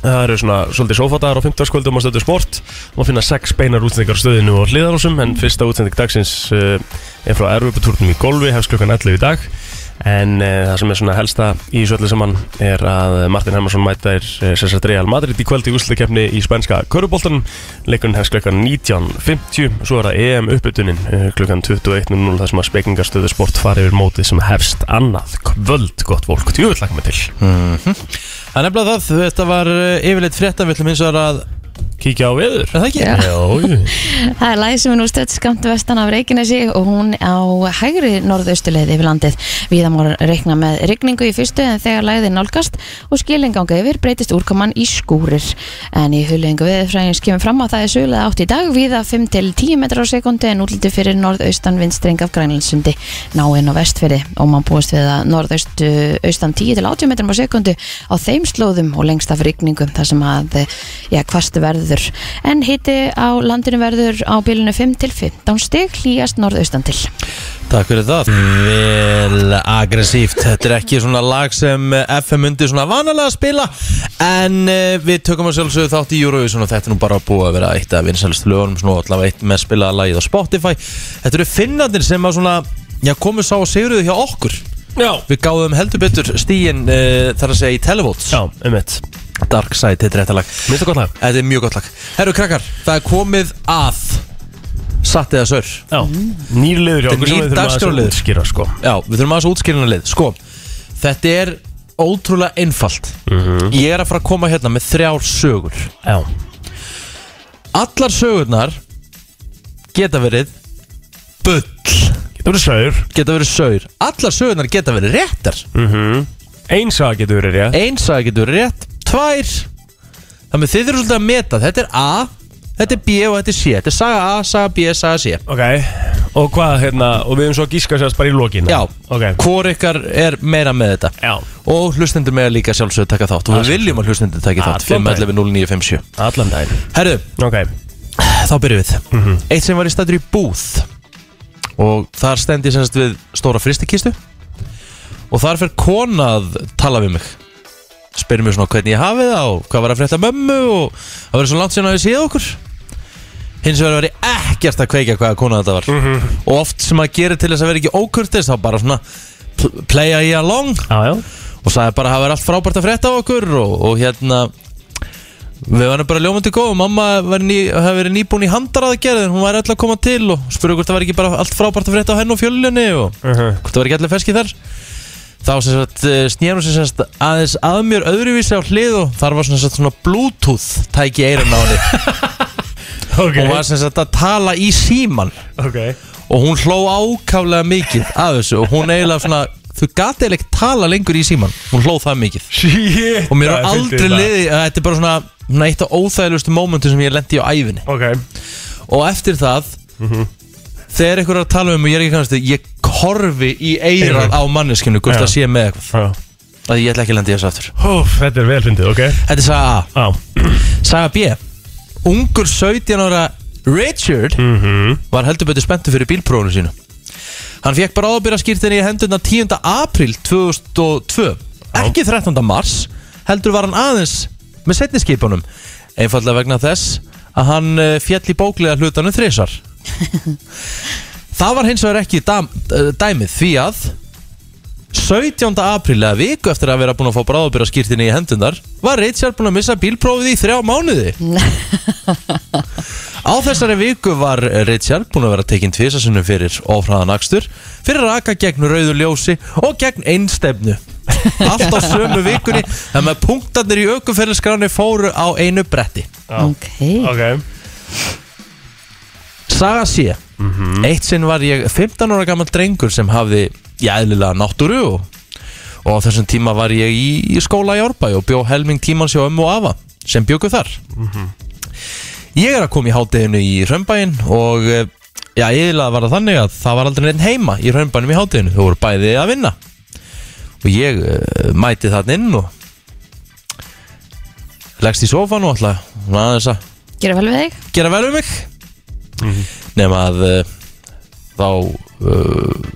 [SPEAKER 3] það eru svona svolítið sófadagar á 50 skvöldum á stöðu sport og má finna sex beinar útsendingar á stöðinu og hliðarásum en fyrsta útsending dagsins uh, er frá erfupatúrnum í golfi hefst klukkan 11 í dag En e, það sem er svona helsta í þessu öllu saman er að Martin Hermansson mætir e, sérsagt Real Madrid í kvöld í úrslutakefni í spænska köruboltan. Leikurinn hefst klukkan 19.50, svo er það EM uppbytunin e, klukkan 21.00 þar sem að spekingarstöðu sport fari yfir mótið sem hefst annað kvöld gott fólk. Tjóðvill lakka mig til.
[SPEAKER 2] það er nefnilega það, þetta var eh, yfirleitt frétta, við ætlum eins og að,
[SPEAKER 3] Kíkja á viður.
[SPEAKER 2] er það ekki?
[SPEAKER 4] Já.
[SPEAKER 3] Jó,
[SPEAKER 4] það er læg sem er nú stödd skamt vestan af Reykjanesi og hún á hægri norðaustuleið yfir landið við það mór reikna með regningu í fyrstu en þegar læðið nálgast og skilinganga yfir breytist úrkoman í skúrir en í hulengu viðfræðins kemur fram að það er sögulega átt í dag við að 5 til 10 metrar á sekundu en útliti fyrir norðaustan vindstreng af grænlandsundi náinn á vestfyrði og mann búist við að norðaust uh, austan 10 til 80 metrum á sekundu á þeim slóðum og lengst af rigningu þar sem að ja, hvast verður en hitti á landinu verður á bylunu 5 til 15 stig hlýjast norðaustan til
[SPEAKER 2] Takk fyrir það Vel aggressíft Þetta er ekki svona lag sem eh, FM undi svona vanalega að spila En uh, við tökum að sjálfsögðu þátt í Eurovision Og þetta er nú bara búið að vera eitt af vinsælustu lögunum Svona allavega eitt með að spila lagið á Spotify Þetta eru finnandir sem að svona Já, komu sá og sigruðu hjá okkur
[SPEAKER 3] já.
[SPEAKER 2] Við gáðum heldur betur stíin uh, þar að segja í Televotes
[SPEAKER 3] Já, um mitt.
[SPEAKER 2] Dark Side, þetta er þetta lag
[SPEAKER 3] Minnst það gott lag?
[SPEAKER 2] Þetta er mjög gott lag Herru krakkar, það er komið að Satt eða saur
[SPEAKER 3] Já. Nýr liður hjá
[SPEAKER 2] Mm. Þetta er nýr
[SPEAKER 3] okkur sem við þurfum aðeins að
[SPEAKER 2] dagskrárliður.
[SPEAKER 3] útskýra sko.
[SPEAKER 2] Já, við þurfum aðeins að útskýrina lið Sko, þetta er ótrúlega einfalt Ég er að fara að koma hérna með þrjár sögur
[SPEAKER 3] Já.
[SPEAKER 2] Allar sögurnar geta verið bull
[SPEAKER 3] Getur verið saur.
[SPEAKER 2] Geta verið saur Allar sögurnar geta verið réttar
[SPEAKER 3] Einn saga getur verið rétt.
[SPEAKER 2] Ein saga getur verið rétt Tvær Þannig að þið eru svolítið að meta Þetta er A, þetta er B og þetta er C Þetta er saga A, saga B, saga C
[SPEAKER 3] Ok, og hvað hérna, og við höfum svo að gíska sérst bara í lokinu
[SPEAKER 2] Já,
[SPEAKER 3] Ok,
[SPEAKER 2] hvor ykkar er meira með þetta
[SPEAKER 3] já,
[SPEAKER 2] Og hlustendur með líka sjálfsögðu taka þátt Og við viljum að hlustendur taka
[SPEAKER 3] Allan
[SPEAKER 2] þátt 511 0957
[SPEAKER 3] allan daginn
[SPEAKER 2] Herru,
[SPEAKER 3] Ok,
[SPEAKER 2] þá byrjum við Eitt sem var í stættur í búð Og þar stendi ég semst við stóra fristikistu Og þar fer kona að tala við mig Spyrir mig svona hvernig ég hafi það Og hvað var að frétta mömmu Og það verið svo langt síðan að ég séð okkur Hins vegar var ég ekkert að kveikja hvaða kona þetta var Og oft sem að gera til þess að vera ekki ókurtis Þá bara svona pl- playa ég along
[SPEAKER 3] Já, já
[SPEAKER 2] og sagði bara að það var allt frábært að frétta á okkur og, og hérna við varum bara ljómandi góð mamma var ný, hafði verið nýbúin í handaraðgerð en hún var alltaf að koma til og spurði hvort það var ekki bara allt frábært að frétta á henn og fjölunni og
[SPEAKER 3] Mhm.
[SPEAKER 2] hvort það var ekki allir feski þar þá sem sagt eh, sneri hún sem sagt aðeins að mér öðruvísi á hlið og þar var sem sagt svona bluetooth tæki eirun á henni
[SPEAKER 3] Ok,
[SPEAKER 2] hún var sem sagt að tala í síman
[SPEAKER 3] ok
[SPEAKER 2] og hún hló ákaflega mikið að þessu og hún eiginlega svona þú gati eiginlega ekki tala lengur í síman hún hló það mikið
[SPEAKER 3] Shit
[SPEAKER 2] og mér er
[SPEAKER 3] það er
[SPEAKER 2] aldrei
[SPEAKER 3] fyndið þetta.
[SPEAKER 2] liði að þetta er bara svona, svona eitt af óþægilegustu mómentum sem ég lendi á æfinni
[SPEAKER 3] Ok,
[SPEAKER 2] og eftir það
[SPEAKER 3] Mhm.
[SPEAKER 2] þegar einhver er að tala um og ég er ekki kannast við, ég korfi í eirað
[SPEAKER 3] Eyrað.
[SPEAKER 2] á manneskinu hvort
[SPEAKER 3] Já.
[SPEAKER 2] það sé með eitthvað
[SPEAKER 3] já
[SPEAKER 2] að ég ætla ekki að lendi þessu aftur
[SPEAKER 3] Hóf, þetta er vel fyndið, ok
[SPEAKER 2] þetta er saga A
[SPEAKER 3] Já,
[SPEAKER 2] saga B ungur 17 ára Richard var heldur betur spenntu fyrir bílprófunu sínu hann fekk bráðabýra skýrtinni í hendurna 10. april 2002 ekki 13. mars heldur var hann aðeins með setniskipunum einfallega vegna þess að hann eh, féll í bóklega hlutanum þrisar það var hins vegar ekki dam, eh, dæmið því að 17. apríl eða viku eftir að vera búin að fá bráðabýra skýrtinni í hendunar var Richard búin að missa bílprófið í þrjá mánuði Á þessari viku var Richard búin að vera tekinn tvisasunum fyrir ofraðan akstur fyrir að raka gegn rauðu ljósi og gegn einstefnu Allt á sömu vikunni en með punktarnir í aukuferðiskráni fóru á einu bretti
[SPEAKER 4] ok
[SPEAKER 3] ok
[SPEAKER 2] Saga sé Eitt sinn var ég 15 ára gammal drengur sem hafði í eðlilega náttúru og, og á þessum tíma var ég í, í skóla í Árbæ og bjó helming tímans hjá ömmu og afa sem bjóku þar Ég er að koma í hádeginu í Hrömbæin og eh, já, eðlilega var það þannig að það var aldrei neitt heima í Hrömbænum í hádeginu þau voru bæði að vinna og ég uh, mæti þarna inn og leggst í sofan og alltaf aðeins að
[SPEAKER 4] Gera vel við þig?
[SPEAKER 2] gera vel um mig nema að uh, þá uh,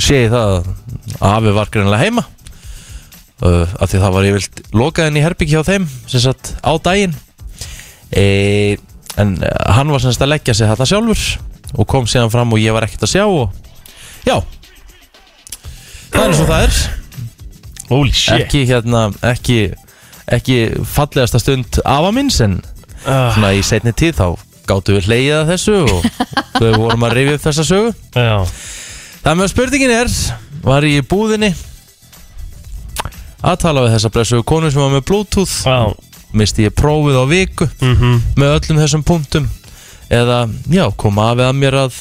[SPEAKER 2] sé ég það að afi var greinlega heima uh, af því það var ég vilt lokað inn í herbyggi hjá þeim sem sagt á daginn e, en uh, hann var sem sagt að leggja sig þetta sjálfur og kom síðan fram og ég var ekkert að sjá og já það er eins og það er
[SPEAKER 3] Holy shit
[SPEAKER 2] ekki hérna ekki, ekki fallegasta stund afa minns en
[SPEAKER 3] Ah,
[SPEAKER 2] svona í setni tíð þá gáttu við hleyið að þessu og þau vorum að rifja upp þessa sögu
[SPEAKER 3] Já,
[SPEAKER 2] Það með spurningin er, var ég í búðinni að tala við þessa blessuðu konu sem var með bluetooth
[SPEAKER 3] já
[SPEAKER 2] misti ég prófið á viku
[SPEAKER 3] Mhm.
[SPEAKER 2] með öllum þessum punktum eða já, kom afið að mér að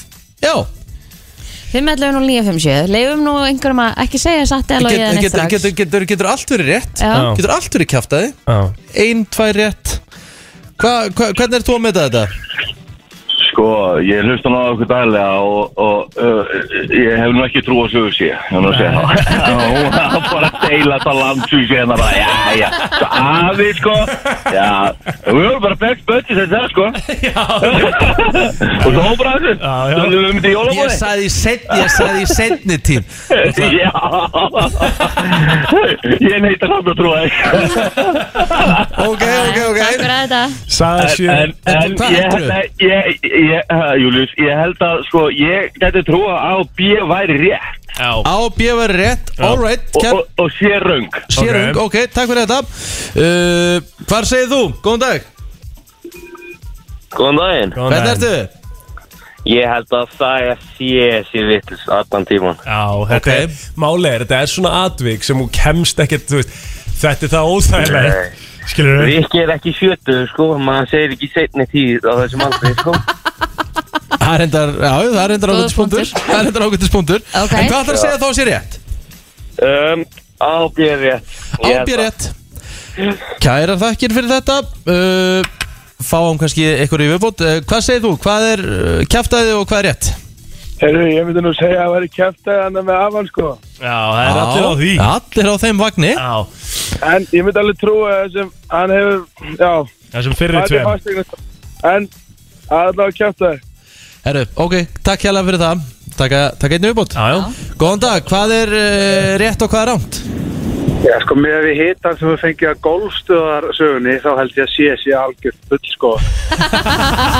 [SPEAKER 2] já,
[SPEAKER 4] 511 og 957 Leifum nú einhverjum að ekki segja satt eða logið
[SPEAKER 2] getur,
[SPEAKER 4] en
[SPEAKER 2] getur,
[SPEAKER 4] strax
[SPEAKER 2] getur, getur, getur allt verið rétt
[SPEAKER 4] Já.
[SPEAKER 3] Já.
[SPEAKER 2] getur allt verið kjaftaði
[SPEAKER 3] Já,
[SPEAKER 2] ein, tvær rétt hva, hva, hvernig er þú að meta þetta?
[SPEAKER 5] Sko, ég hlusta nú á okkur dælega og, og uh, ég hef nú ekki trú á sögur sé, ég <laughs> nú að segja það. Hún var bara að deila þetta landsvísi hérna bara, já, já, svo afi, sko, já, við vorum bara best budget þetta, sko. <laughs> og svo hún bara þessu,
[SPEAKER 3] Já, já.
[SPEAKER 5] svo við höfum þetta í
[SPEAKER 2] Ég
[SPEAKER 5] jólabóði.
[SPEAKER 2] sagði í setni, ég sagði í setni tím
[SPEAKER 5] Já, <laughs> ég neita samt að trúa þig.
[SPEAKER 2] Ok, ok,
[SPEAKER 4] Takk
[SPEAKER 2] ok
[SPEAKER 4] fyrir þetta
[SPEAKER 3] Saga
[SPEAKER 5] En,
[SPEAKER 3] sjö
[SPEAKER 5] en, en
[SPEAKER 2] Hvað
[SPEAKER 5] ég,
[SPEAKER 2] heldurðu?
[SPEAKER 5] ég, ég, ég, uh, Július, ég held að, sko, ég gæti trúa á B væri rétt.
[SPEAKER 3] Já,
[SPEAKER 2] Á, B var rétt, all right
[SPEAKER 5] og,
[SPEAKER 2] Kjær,
[SPEAKER 5] og, og sé röng
[SPEAKER 2] sérung, ok, takk fyrir þetta uh, Hvar segir þú? Góðan dag,
[SPEAKER 6] Góðan daginn.
[SPEAKER 3] góðan
[SPEAKER 2] hvernig
[SPEAKER 3] daginn.
[SPEAKER 2] ertu?
[SPEAKER 6] Ég held að það er sér sér vittis allan tíman.
[SPEAKER 3] Já, þetta
[SPEAKER 2] Ok.
[SPEAKER 3] er, máli er, þetta er svona atvik sem hún kemst ekkert, þú veist, þetta er það óþægilega, skilur við?
[SPEAKER 6] Rikki er ekki sjötuð, sko, maður segir ekki setni tíð á þessum aldrei, sko.
[SPEAKER 2] Það er reyndar, já, það er reyndar
[SPEAKER 4] Góður
[SPEAKER 2] ágættis punktur
[SPEAKER 4] punktur.
[SPEAKER 2] Það er reyndar ágættis punktur
[SPEAKER 4] Ok.
[SPEAKER 2] En hvað ætlar að segja þá sé rétt?
[SPEAKER 6] Um, ábjör rétt.
[SPEAKER 2] Á,
[SPEAKER 6] Ég held
[SPEAKER 2] B
[SPEAKER 6] að-
[SPEAKER 2] rétt Kærar þakkir fyrir þetta uh, Fáum kannski einhverju viðbót uh, Hvað segir þú? Hvað er uh, kjaftaði og hvað er rétt?
[SPEAKER 7] Herru, ég myndi nú segja að það væri kæftið hann með afan sko
[SPEAKER 3] Já, það er allir á því.
[SPEAKER 2] Allir á þeim vagni
[SPEAKER 3] Já,
[SPEAKER 7] En ég myndi alveg trúa þessum, hann hefur, já
[SPEAKER 3] það sem fyrir
[SPEAKER 7] hann er
[SPEAKER 3] tveim.
[SPEAKER 7] fasteign En Það er alveg að kæfta þig
[SPEAKER 2] Herru, ok, takk hérlega fyrir það Takk, takk einnig viðbútt
[SPEAKER 3] Já, já.
[SPEAKER 2] Góðan dag, hvað er uh, rétt og hvað er rámt?
[SPEAKER 7] Já, sko, með við hitan sem við fengið að golfstöðarsögunni þá held ég að sé sé algjör full, sko
[SPEAKER 3] <laughs>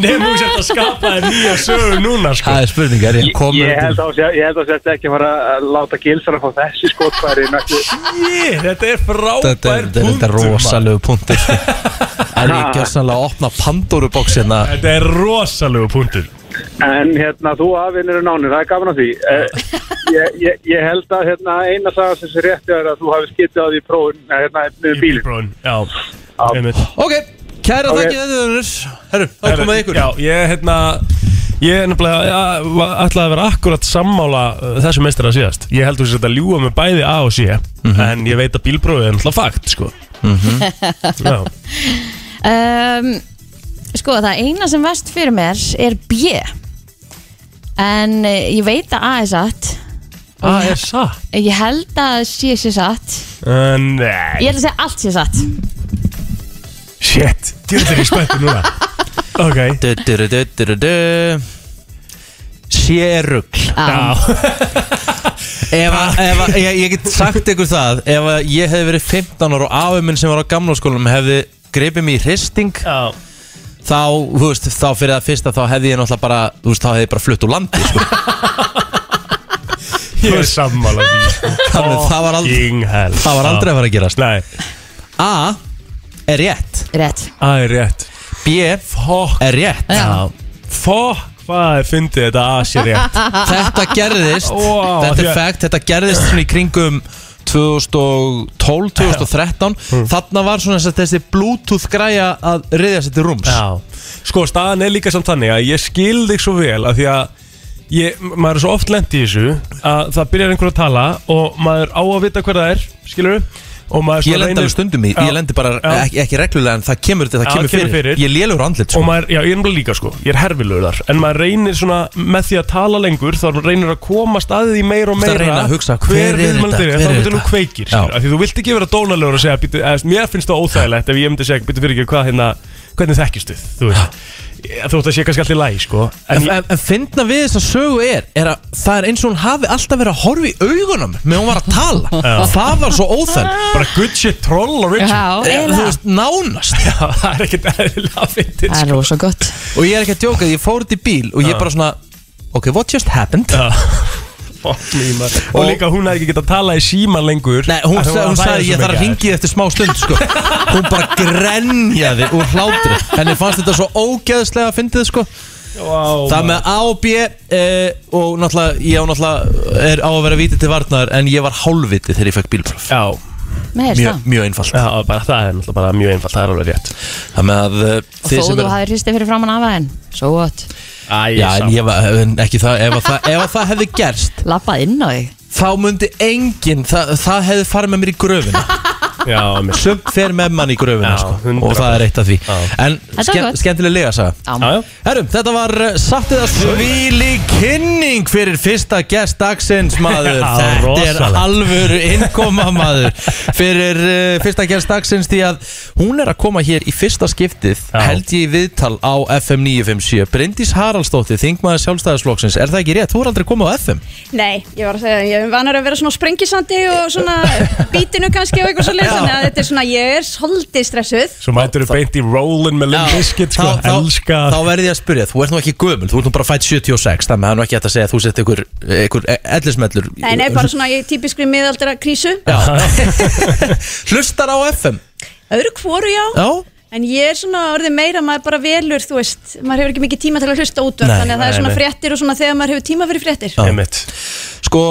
[SPEAKER 3] Nefnum þú sért að skapa þér nýja sögur núna sko
[SPEAKER 2] Það er spurning, er ég
[SPEAKER 7] Ég
[SPEAKER 2] komin
[SPEAKER 7] held að ég held að þetta ekki að fara að láta gilsar að fá þessi skotfæri næstu
[SPEAKER 3] Jé, þetta er frábær
[SPEAKER 2] Þetta er, þetta er, þetta er
[SPEAKER 3] punktur, maður.
[SPEAKER 2] rosalegu punktur sko. En ég gjör sannlega að opna Pandoru box hérna
[SPEAKER 3] Þetta er rosalegu punktur
[SPEAKER 7] En hérna, þú aðvinnir er nánir, það er gaman að því. Eh, ég, ég, ég held að hérna, eina saga sem sé rétti er að þú hafi skiptið á því prófun, eh, hérna, með bílinn.
[SPEAKER 3] Bílbrón, já einmitt.
[SPEAKER 2] Ok, kæra
[SPEAKER 7] Ok.
[SPEAKER 2] þakki þetta unnur Herru, þá komum við ykkur
[SPEAKER 3] Já, ég hérna Ég er nefnilega, já, va- ætlaði að vera akkurat sammála uh, þessu meistara síðast Ég heldur þess að þetta ljúga með bæði A og C
[SPEAKER 2] Mhm.
[SPEAKER 3] En ég veit að bílbrófið er náttúrulega fakt, sko Já,
[SPEAKER 4] um, Sko það eina sem vest fyrir mér er B En eh, ég veit að A er satt
[SPEAKER 3] A er satt
[SPEAKER 4] Ég held að C sé satt
[SPEAKER 3] uh, Nei,
[SPEAKER 4] Ég held að segja allt sé satt
[SPEAKER 3] shit, djúður ekki spættu núna Ok,
[SPEAKER 2] Du, du, du, du, du, du, du. Sérugl
[SPEAKER 4] Já,
[SPEAKER 2] ef að, ef að, ég, ég get sagt ykkur það Ef að ég hefði verið 15 ára og afi minn sem var á gamla skólanum hefði greipið mér í hristing
[SPEAKER 3] já
[SPEAKER 2] þá, þú veist, þá fyrir það fyrsta þá hefði ég náttúrulega bara, þú veist, þá hefði ég bara flutt úr landi
[SPEAKER 3] <laughs>
[SPEAKER 2] sko.
[SPEAKER 3] Ég er sammála því sko.
[SPEAKER 2] Þannig, það var aldrei-
[SPEAKER 3] Fucking hell.
[SPEAKER 2] það var aldrei að fara að gerast
[SPEAKER 3] Nei,
[SPEAKER 2] A er rétt
[SPEAKER 4] rétt
[SPEAKER 3] A er rétt
[SPEAKER 2] B
[SPEAKER 3] Fokk
[SPEAKER 2] er rétt
[SPEAKER 3] Fokk, hvað er fyndið þetta A sé rétt
[SPEAKER 2] þetta gerðist
[SPEAKER 3] Wow,
[SPEAKER 2] þetta
[SPEAKER 3] því
[SPEAKER 2] er
[SPEAKER 3] að-
[SPEAKER 2] fact, þetta gerðist svona í kringum 2012, 2013
[SPEAKER 3] Mm.
[SPEAKER 2] þarna var svona þess að þessi bluetooth græja að reyðja sér til rúms
[SPEAKER 3] Já Sko, staðan er líka samt þannig að ég skil þig svo vel að því að ég, maður er svo oft lent í þessu að það byrjar einhver að tala og maður á að vita hver það er, skilur við og maður
[SPEAKER 2] ég
[SPEAKER 3] svona
[SPEAKER 2] lendi alveg stundum í, ég
[SPEAKER 3] Já.
[SPEAKER 2] lendi bara
[SPEAKER 3] Já.
[SPEAKER 2] ekki, ekki reglulega en það kemur, það
[SPEAKER 3] Já,
[SPEAKER 2] kemur,
[SPEAKER 3] kemur
[SPEAKER 2] fyrir.
[SPEAKER 3] fyrir.
[SPEAKER 2] ég er lélur andlit
[SPEAKER 3] og
[SPEAKER 2] sko.
[SPEAKER 3] maður, já, ég er náttúrulega líka sko ég er herfilegur þar, en maður reynir svona með því að tala lengur, þá reynir að komast að því meira og
[SPEAKER 2] Þú ert að
[SPEAKER 3] meira
[SPEAKER 2] reyna að hugsa, hver er
[SPEAKER 3] viðmælandinn
[SPEAKER 2] þetta?
[SPEAKER 3] er,
[SPEAKER 2] Hver
[SPEAKER 3] þá
[SPEAKER 2] er
[SPEAKER 3] betur nú
[SPEAKER 2] þetta?
[SPEAKER 3] kveikir,
[SPEAKER 2] Já.
[SPEAKER 3] skilur, af því þú vilt ekki vera dónalegur og segja, býtu, eða, mér finnst það óþægilegt ef ég myndi segja, býtu fyrir ekki, hvað hérna hvernig þekkistu, þú veist þú veist að sé kannski allir læg, sko
[SPEAKER 2] en, en, en fyndna við þess að sögu er, er að það er eins og hún hafi alltaf verið að horfa í augunum meðan hún var að tala það var svo óþenn
[SPEAKER 3] bara good shit troll og Richard
[SPEAKER 4] Já,
[SPEAKER 2] Eh, þú
[SPEAKER 4] eiginlega
[SPEAKER 2] veist, nánast
[SPEAKER 3] Já, það er ekkert eðlilega fyndið
[SPEAKER 4] Það er
[SPEAKER 3] sko.
[SPEAKER 4] rosa gott
[SPEAKER 2] og ég er ekki að djóka, ég fór út í bíl og ég bara svona, ok, what just happened
[SPEAKER 3] Já. Fuck me, maður. og
[SPEAKER 2] Og-
[SPEAKER 3] líka hún hefði ekki getað að tala í síma lengur
[SPEAKER 2] Nei, hún,
[SPEAKER 3] Af því
[SPEAKER 2] sa- hún
[SPEAKER 3] var að
[SPEAKER 2] sagði
[SPEAKER 3] hlæja
[SPEAKER 2] ég
[SPEAKER 3] svo
[SPEAKER 2] þarf að
[SPEAKER 3] mikið
[SPEAKER 2] ringi eftir smá stund
[SPEAKER 3] <laughs>
[SPEAKER 2] sko. Hún bara grenjaði úr hlátri Henni fannst þetta svo ógeðslega að fyndið sko.
[SPEAKER 3] þér. Vá,
[SPEAKER 2] Það
[SPEAKER 3] maður.
[SPEAKER 2] með A og B e, Og náttúrulega, ég á náttúrulega er á að vera vítið til varnar En ég var hálfvitið þegar ég fekk bílpróf
[SPEAKER 3] Já,
[SPEAKER 4] Með þér
[SPEAKER 2] Mjög,
[SPEAKER 4] það
[SPEAKER 2] mjög einfalt
[SPEAKER 3] já bara, það er náttúrulega bara mjög einfalt, það er alveg rétt
[SPEAKER 2] Það með að eh, þið
[SPEAKER 4] Og þó
[SPEAKER 2] sem
[SPEAKER 4] þú
[SPEAKER 2] er
[SPEAKER 4] hafið hristið fyrir framann af aðeins Svo gott
[SPEAKER 3] Æ,
[SPEAKER 2] Já, en ég var, en ekki það Ef að það, ef að það hefði gerst
[SPEAKER 4] Lappað inn á þig
[SPEAKER 2] Þá mundi enginn, það, það hefði farið með mér í gröfina
[SPEAKER 3] já, mér
[SPEAKER 2] Sumt fer með mann í gröfina
[SPEAKER 3] Já,
[SPEAKER 2] sko.
[SPEAKER 3] 100%.
[SPEAKER 2] Og það er eitt af því
[SPEAKER 3] Já.
[SPEAKER 2] En
[SPEAKER 4] var
[SPEAKER 2] ske,
[SPEAKER 4] gott.
[SPEAKER 2] skemmtilega lega sagði
[SPEAKER 3] Já, já,
[SPEAKER 2] Herrum, þetta var uh, satt eða svíli kynning fyrir fyrsta gest dagsins maður
[SPEAKER 3] Já,
[SPEAKER 2] Þetta er
[SPEAKER 3] rosalegt.
[SPEAKER 2] alvöru innkoma maður fyrir uh, fyrsta gest dagsins því að hún er að koma hér í fyrsta skiptið
[SPEAKER 3] Já.
[SPEAKER 2] held ég í viðtal á FM 957 Bryndís Haraldsdóttir, þingmaður sjálfstæðisflóksins Er það ekki rétt? Þú er aldrei komið á FM
[SPEAKER 8] Nei, ég var að segja, ég er vanar að vera svona á sprengisandi og svona bítinu kannski og eitthvað svo leið, þannig að þetta er svona, ég er svolítið stressuð.
[SPEAKER 3] svo mætur þú beint í rollin með Limp Bizkit, sko,
[SPEAKER 2] þá, þá,
[SPEAKER 3] elska
[SPEAKER 2] þá verði ég að spyrja, þú ert nú ekki gömul Þú ert nú bara fætt 76, þannig að það er nú ekki hægt að segja að Þú sett ykkur, ykkur ellismellur
[SPEAKER 8] Nei, nei, bara svona í típiskri miðaldra krísu.
[SPEAKER 2] Já. <laughs> Hlustar á FM
[SPEAKER 8] Öðru hvoru já,
[SPEAKER 2] Já,
[SPEAKER 8] en ég er svona orðið meira, maður bara velur, þú veist, maður hefur ekki mikið tíma til að hlusta útverð,
[SPEAKER 2] Nei,
[SPEAKER 8] þannig að það
[SPEAKER 3] nei,
[SPEAKER 8] er svona
[SPEAKER 3] nei.
[SPEAKER 8] fréttir og svona þegar maður hefur tíma fyrir fréttir.
[SPEAKER 3] Einmitt.
[SPEAKER 2] Sko,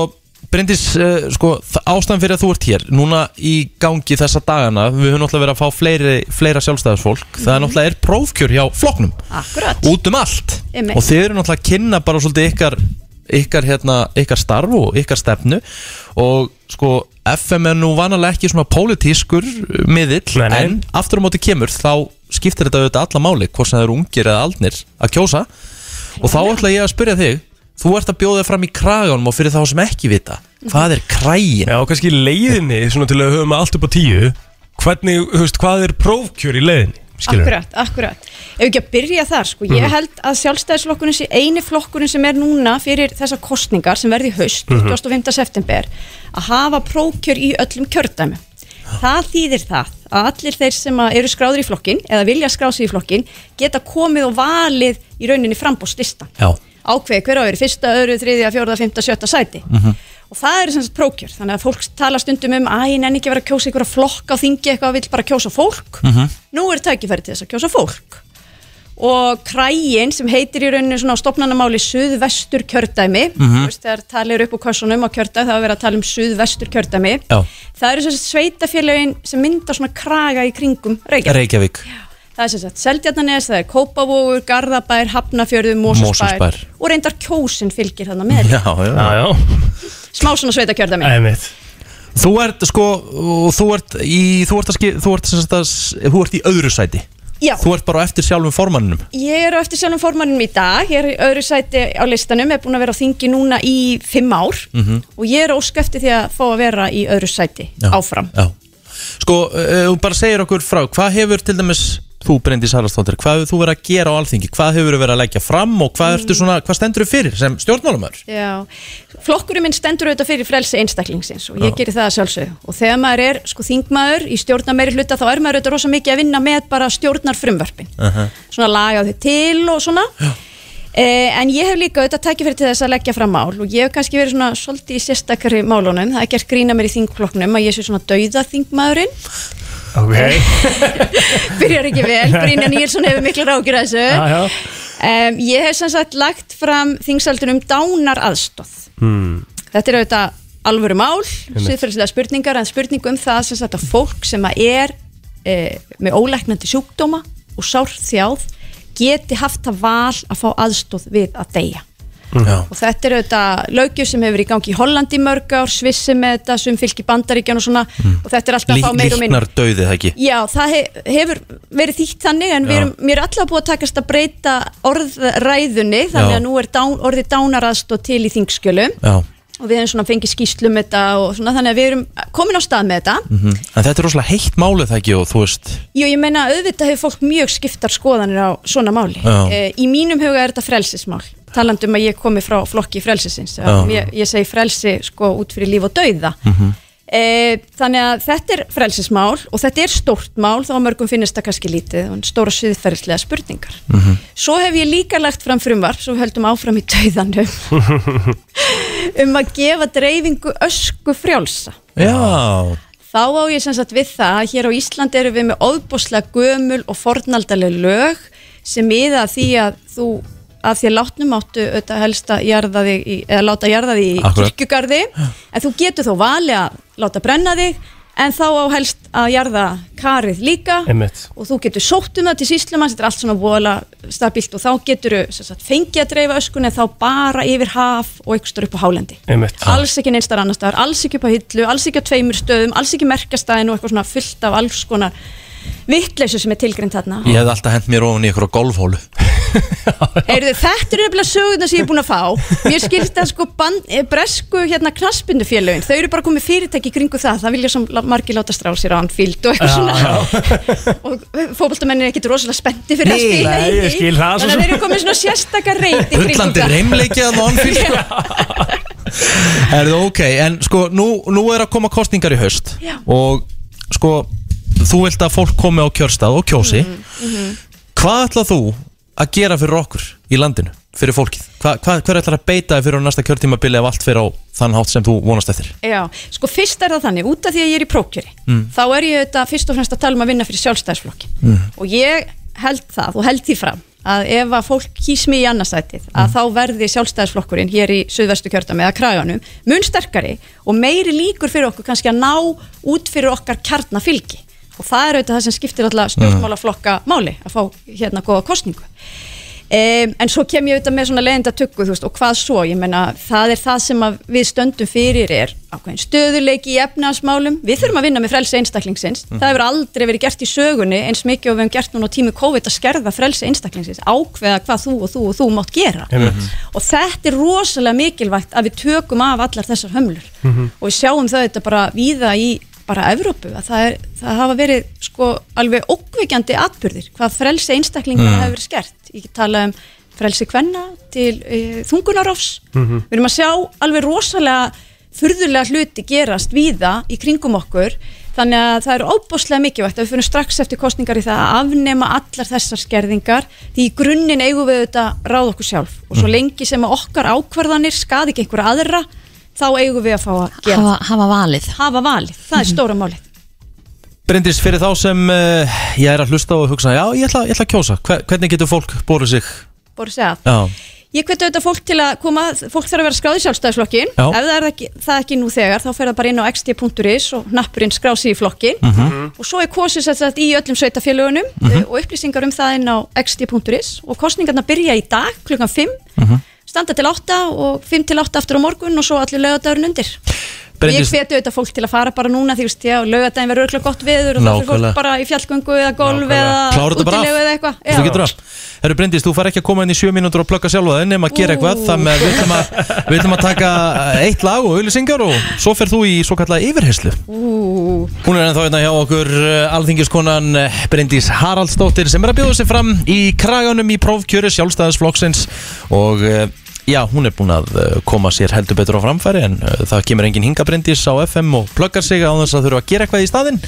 [SPEAKER 2] Bryndis, uh, sko, þa- ástæðan fyrir að þú ert hér Núna í gangi þessa dagana Við höfum náttúrulega verið að fá fleiri, fleira sjálfstæðisfólk Það er náttúrulega er prófkjör hjá flokknum
[SPEAKER 8] Akkurat.
[SPEAKER 2] Út um allt
[SPEAKER 8] Einmitt.
[SPEAKER 2] Og þið eru náttúrulega að kynna bara svolítið ykkar ykkar, hérna, ykkar starf og ykkar stefnu og sko FM er nú vanalega ekki svona pólitískur uh, miðill,
[SPEAKER 3] Nei, nei.
[SPEAKER 2] en aftur á móti kemur þá skiptir þetta auðvitað alla máli hvort sem það eru ungir eða aldnir að kjósa og þá ætla ég að spyrja þig þú ert að bjóða þig fram í kraganum og fyrir þá sem ekki vita hvað er krægin?
[SPEAKER 3] Já, og kannski í leiðinni, svona til að höfum allt upp á tíu Hvernig, þú veist, hvað er prófkjör í leiðinni?
[SPEAKER 2] Skilurðu?
[SPEAKER 8] Akkurat, akkurat Ef ekki að byrja þar, sko, ég held að sjálfstæðisflokkurinn sé eini flokkurinn sem er núna fyrir þessar kostningar sem verði í haust 25. september að hafa prókjör í öllum kjördæmi Það þýðir það að allir þeir sem að eru skráður í flokkin eða vilja skrá sig í flokkin geta komið og valið í rauninni frambóðslista
[SPEAKER 2] Já.
[SPEAKER 8] ákveði hver á eru fyrsta, öðru, þriðja, fjórða, fymta, sjötta sæti og það eru sem sagt prókjör þannig að fólk tala stundum um að ég nenni ekki að vera að kjósa ykkur að flokka á þingi eitthvað vill bara kjósa fólk nú er tækifæri til þess að kjósa fólk og krægin sem heitir í rauninu svona á stopnanamáli suðvestur kjördæmi þú veist þegar talið er upp úr kössunum á kjördæmi það er verið að tala um suðvestur kjördæmi
[SPEAKER 2] Já.
[SPEAKER 8] það eru sem sagt sveitafélögin sem mynda svona kraga í kringum Reykjavík
[SPEAKER 2] Reykjavík
[SPEAKER 8] Það er sem sagt Seldjarnanes, það er Kópavogur, Garðabær, Hafnafjörður, Mósusbær,
[SPEAKER 2] Mosfellsbær.
[SPEAKER 8] og reyndar kjósin fylgir þarna með.
[SPEAKER 2] Já, já, já.
[SPEAKER 3] já,
[SPEAKER 8] Smá svona sveitakjörðami.
[SPEAKER 3] einmitt
[SPEAKER 2] Þú ert sko og þú ert í þú ert, að, ski- þú, ert sem sagt að, s- þú ert í öðru sæti
[SPEAKER 8] Já,
[SPEAKER 2] Þú ert bara á eftir sjálfum formanninum
[SPEAKER 8] ég er á eftir sjálfum formanninum í dag, ég er í öðru sæti á listanum, er búin að vera á þingi núna í fimm ár og ég er ósk eftir því að fá að vera í öðru sæti
[SPEAKER 2] Mhm. já.
[SPEAKER 8] áfram.
[SPEAKER 2] Já Sko, eh, þú bara segir okkur frá Hvað hefur til dæmis þú Bryndi Sarastóttir Hvað hefur þú verið að gera á alþingi Hvað hefur þú verið að leggja fram og hvað, ertu
[SPEAKER 8] Mm.
[SPEAKER 2] svona, hvað stendur þú fyrir sem stjórnmálumar
[SPEAKER 8] Já, flokkurinn minn stendur auðvitað fyrir frelsi einstaklingsins og ég gerir það að sjálfsögðu og þegar maður er sko þingmaður í stjórnar meiri hluta þá er maður auðvitað rosa mikið að vinna með bara stjórnar frumvörpin svona laga þau til og svona eh, en ég hef líka auðvitað tækifæri til þess að leggja fram mál og ég hef kannski verið svona svolítið í sérstakari málunum, það er gert grína mér í þingflokknum að ég sé svona dauða þingmaðurinn
[SPEAKER 3] Ok,
[SPEAKER 8] byrjar ekki
[SPEAKER 3] <laughs>
[SPEAKER 8] vel, Brynja Níelsson hefur miklu rákjur að þessu
[SPEAKER 3] já, já
[SPEAKER 8] Um, ég hef sem sagt lagt fram þingsaldur um dánar aðstóð. Þetta er auðvitað alvöru mál, síðferðislega spurningar, en spurningu um það sem sagt að fólk sem að er e, með ólæknandi sjúkdóma og sárþjáð geti haft það val að fá aðstóð við að deyja.
[SPEAKER 2] Já,
[SPEAKER 8] Og þetta er auðvitað lögjur sem hefur verið í gangi í Hollandi í mörg ár, Svissi með þetta, sem fylgir bandaríkjan og svona, og þetta er alltaf að fá meir og minn.
[SPEAKER 2] Líknar döðið það ekki
[SPEAKER 8] Já, það he- hefur verið þýtt þannig en við erum, mér er alltaf búið að takast að breyta orðræðunni þannig
[SPEAKER 2] Já.
[SPEAKER 8] að nú er dán, orðið dánaraðstóð til í þingskjölum
[SPEAKER 2] Já
[SPEAKER 8] og við erum svona fengið skýslu með þetta og svona þannig að við erum komin á stað með þetta
[SPEAKER 2] Mhm. En þetta er rosalega heitt málið það ekki og þú veist
[SPEAKER 8] Jú, ég meina auðvitað hefur fólk mjög skiptar skoðanir á svona máli
[SPEAKER 2] Já.
[SPEAKER 8] e, Í mínum huga er þetta frelsismál talandi um að ég komi frá flokki frelsisins
[SPEAKER 2] Já.
[SPEAKER 8] ég, ég segi frelsi sko út fyrir líf og dauða
[SPEAKER 2] Mhm.
[SPEAKER 8] e, Þannig að þetta er frelsismál og þetta er stórt mál þá að mörgum finnist það kannski lítið og stóra siðferðislega spurningar
[SPEAKER 2] Mhm.
[SPEAKER 8] Svo hef ég líka lagt fram frumvarp svo við höldum áfram í
[SPEAKER 2] <laughs>
[SPEAKER 8] dauðanum um að gefa dreifingu ösku frjálsa
[SPEAKER 2] Já,
[SPEAKER 8] Þá á ég sem sagt við það að hér á Íslandi eru við með óðbúslega gömul og fornaldaleg lög sem miða að því að þú að því að látnum áttu auðvitað helst að jarða þig í, eða láta jarða þig í
[SPEAKER 2] Akkúrat.
[SPEAKER 8] kirkjugarði en þú getur þó vali að láta brenna þig en þá á helst að jarða karið líka
[SPEAKER 3] Einmitt.
[SPEAKER 8] og þú getur sótt um það til síslumann þetta er allt svona voðalega stabilt og þá getur sagt, fengið að dreifa öskunni þá bara yfir haf og ykkur stór upp á hálendi
[SPEAKER 3] Einmitt.
[SPEAKER 8] alls ekki neinstar annar staðar, alls ekki upp á hillu, alls ekki á tveimur stöðum, alls ekki merkastæðin og eitthvað svona fullt af alls konar vittleysu sem er tilgrind
[SPEAKER 3] <laughs>
[SPEAKER 8] þarna.
[SPEAKER 2] ég hefði alltaf hent mér ofan í ykkur á golfhólu
[SPEAKER 8] Heyrðu, þetta eru nefnilega sögurna sem ég er búin að fá. Mér skilst að sko band, eh, bresku hérna knaspindufélögin, þau eru bara komið fyrirtæki í kringu það, það vilja sem lá- margir láta strá sér á anfíld og eitthvað svona. og fókbaltamennin er ekkit rosalega spendi fyrir
[SPEAKER 3] Nei,
[SPEAKER 8] að spila í
[SPEAKER 3] nei, ég
[SPEAKER 8] því.
[SPEAKER 3] skil það svo
[SPEAKER 8] Þannig
[SPEAKER 3] sem.
[SPEAKER 8] að þeir eru komið svona sérstakar reyting kringum
[SPEAKER 2] Hullandi
[SPEAKER 8] það.
[SPEAKER 2] reymleiki að mannfíl sko. Er það ok En sko, nú, nú er að koma kostningar í haust
[SPEAKER 8] Já.
[SPEAKER 2] Og sko Þú vilt að fólk komi á kjörstað og kjósi Hvað ætlað þú að gera fyrir okkur í landinu? Fyrir fólkið? Hva, hvað, hver ætlar að beita þér fyrir á næsta kjörtímabili ef allt fyrir á þann hátt sem þú vonast eftir?
[SPEAKER 8] Já, sko fyrst er það þannig, út af því að ég er í prókjöri þá er ég þetta fyrst og fremst að tala um að vinna fyrir sjálfstæðisflokkin og ég held það og held því fram að ef að fólk kýs mig í annarsætið að þá verði sjálfstæðisflokkurinn hér í suðvestu kjördami eða kræjanum mun sterkari og meiri líkur fyrir okkur kannski að ná út fyrir okkar kjarnafylgi og það er auðvitað það sem skiptir alltaf stjórnmálaflokka máli að fá hérna góða kostningu Um, en svo kem ég auðvitað með svona leiðinda tökku veist, og hvað svo, ég meina það er það sem að við stöndum fyrir er ákveðin stöðuleiki í efnaðasmálum við þurfum að vinna með frelsi einstaklingsins það hefur aldrei verið gert í sögunni eins mikið og við hefum gert núna á tími COVID að skerða frelsi einstaklingsins, ákveða hvað þú og þú og þú mátt gera og þetta er rosalega mikilvægt að við tökum af allar þessar hömlur og við sjáum það þetta bara víða í bara Evrópu að það, er, það hafa verið sko alveg ókveikjandi atbyrðir hvað frelsi einstaklinga mm. hafa verið skert ég get tala um frelsi kvenna til e, þungunarófs við erum að sjá alveg rosalega furðulega hluti gerast víða í kringum okkur þannig að það er óbúslega mikilvægt að við fyrir strax eftir kostningar í það að afnema allar þessar skerðingar því í grunninn eigum við þetta ráð okkur sjálf og svo lengi sem að okkar ákvarðanir skaði ekki einhverja aðra þá eigum við að fá að gera
[SPEAKER 4] hafa, hafa valið
[SPEAKER 8] hafa valið, það er stóra málið
[SPEAKER 2] Bryndis, fyrir þá sem uh, ég er að hlusta og hugsa Já, ég ætla, ég ætla að kjósa Hver, Hvernig getur fólk borðið sig?
[SPEAKER 8] Bóru segja það.
[SPEAKER 2] Já,
[SPEAKER 8] Ég hveti auðvitað fólk til að koma, fólk þarf að vera skráð í sjálfstæðisflokkin
[SPEAKER 2] Já.
[SPEAKER 8] ef það er ekki, það ekki nú þegar, þá fer það bara inn á xt.is og nappurinn skráð sér í flokkin
[SPEAKER 2] Mhm.
[SPEAKER 8] og svo er kosið sér þetta í öllum sveitafélagunum mm og upplýsingar um það inn á xt.is og kostningarna byrja í dag klukkan 5
[SPEAKER 2] Mhm.
[SPEAKER 8] standa til 8 og 5 til 8 aftur á morgun og svo allir lögadagurinn undir og ég
[SPEAKER 2] Bryndís,
[SPEAKER 8] hveti auðvitað fólk til að fara bara núna því veist, já, lögadaginn verður örgulega gott veður og þá fyrir
[SPEAKER 2] Nákvæmlega.
[SPEAKER 8] fólk bara í fjallgöngu eða golf eða
[SPEAKER 2] klára þetta bara
[SPEAKER 8] útilegu
[SPEAKER 2] af
[SPEAKER 8] eða eitthvað
[SPEAKER 2] Þú
[SPEAKER 8] Já.
[SPEAKER 2] getur af Herru Bryndís, þú far ekki að koma inn í sjö mínútur og plugga sjálfa þinn nema að gera
[SPEAKER 8] Ú.
[SPEAKER 2] eitthvað Þannig að við ætlum að, við ætlum að taka eitt lag og auðlýsingar og svo fer þú í svo kallaða yfirherslu
[SPEAKER 8] Ú.
[SPEAKER 2] Hún er ennþá hérna hjá okkur eh, alþingiskonan eh, Bryndís Haraldsdóttir sem er að bjóða sig fram í kraganum í prófkjöri sjálfstæðisflokksins og eh, já, hún er búin að eh, koma sér heldur betur á framfæri en eh, það kemur engin hinga Bryndís á FM og pluggar sig á þess að þurfa að gera eitthvað í staðinn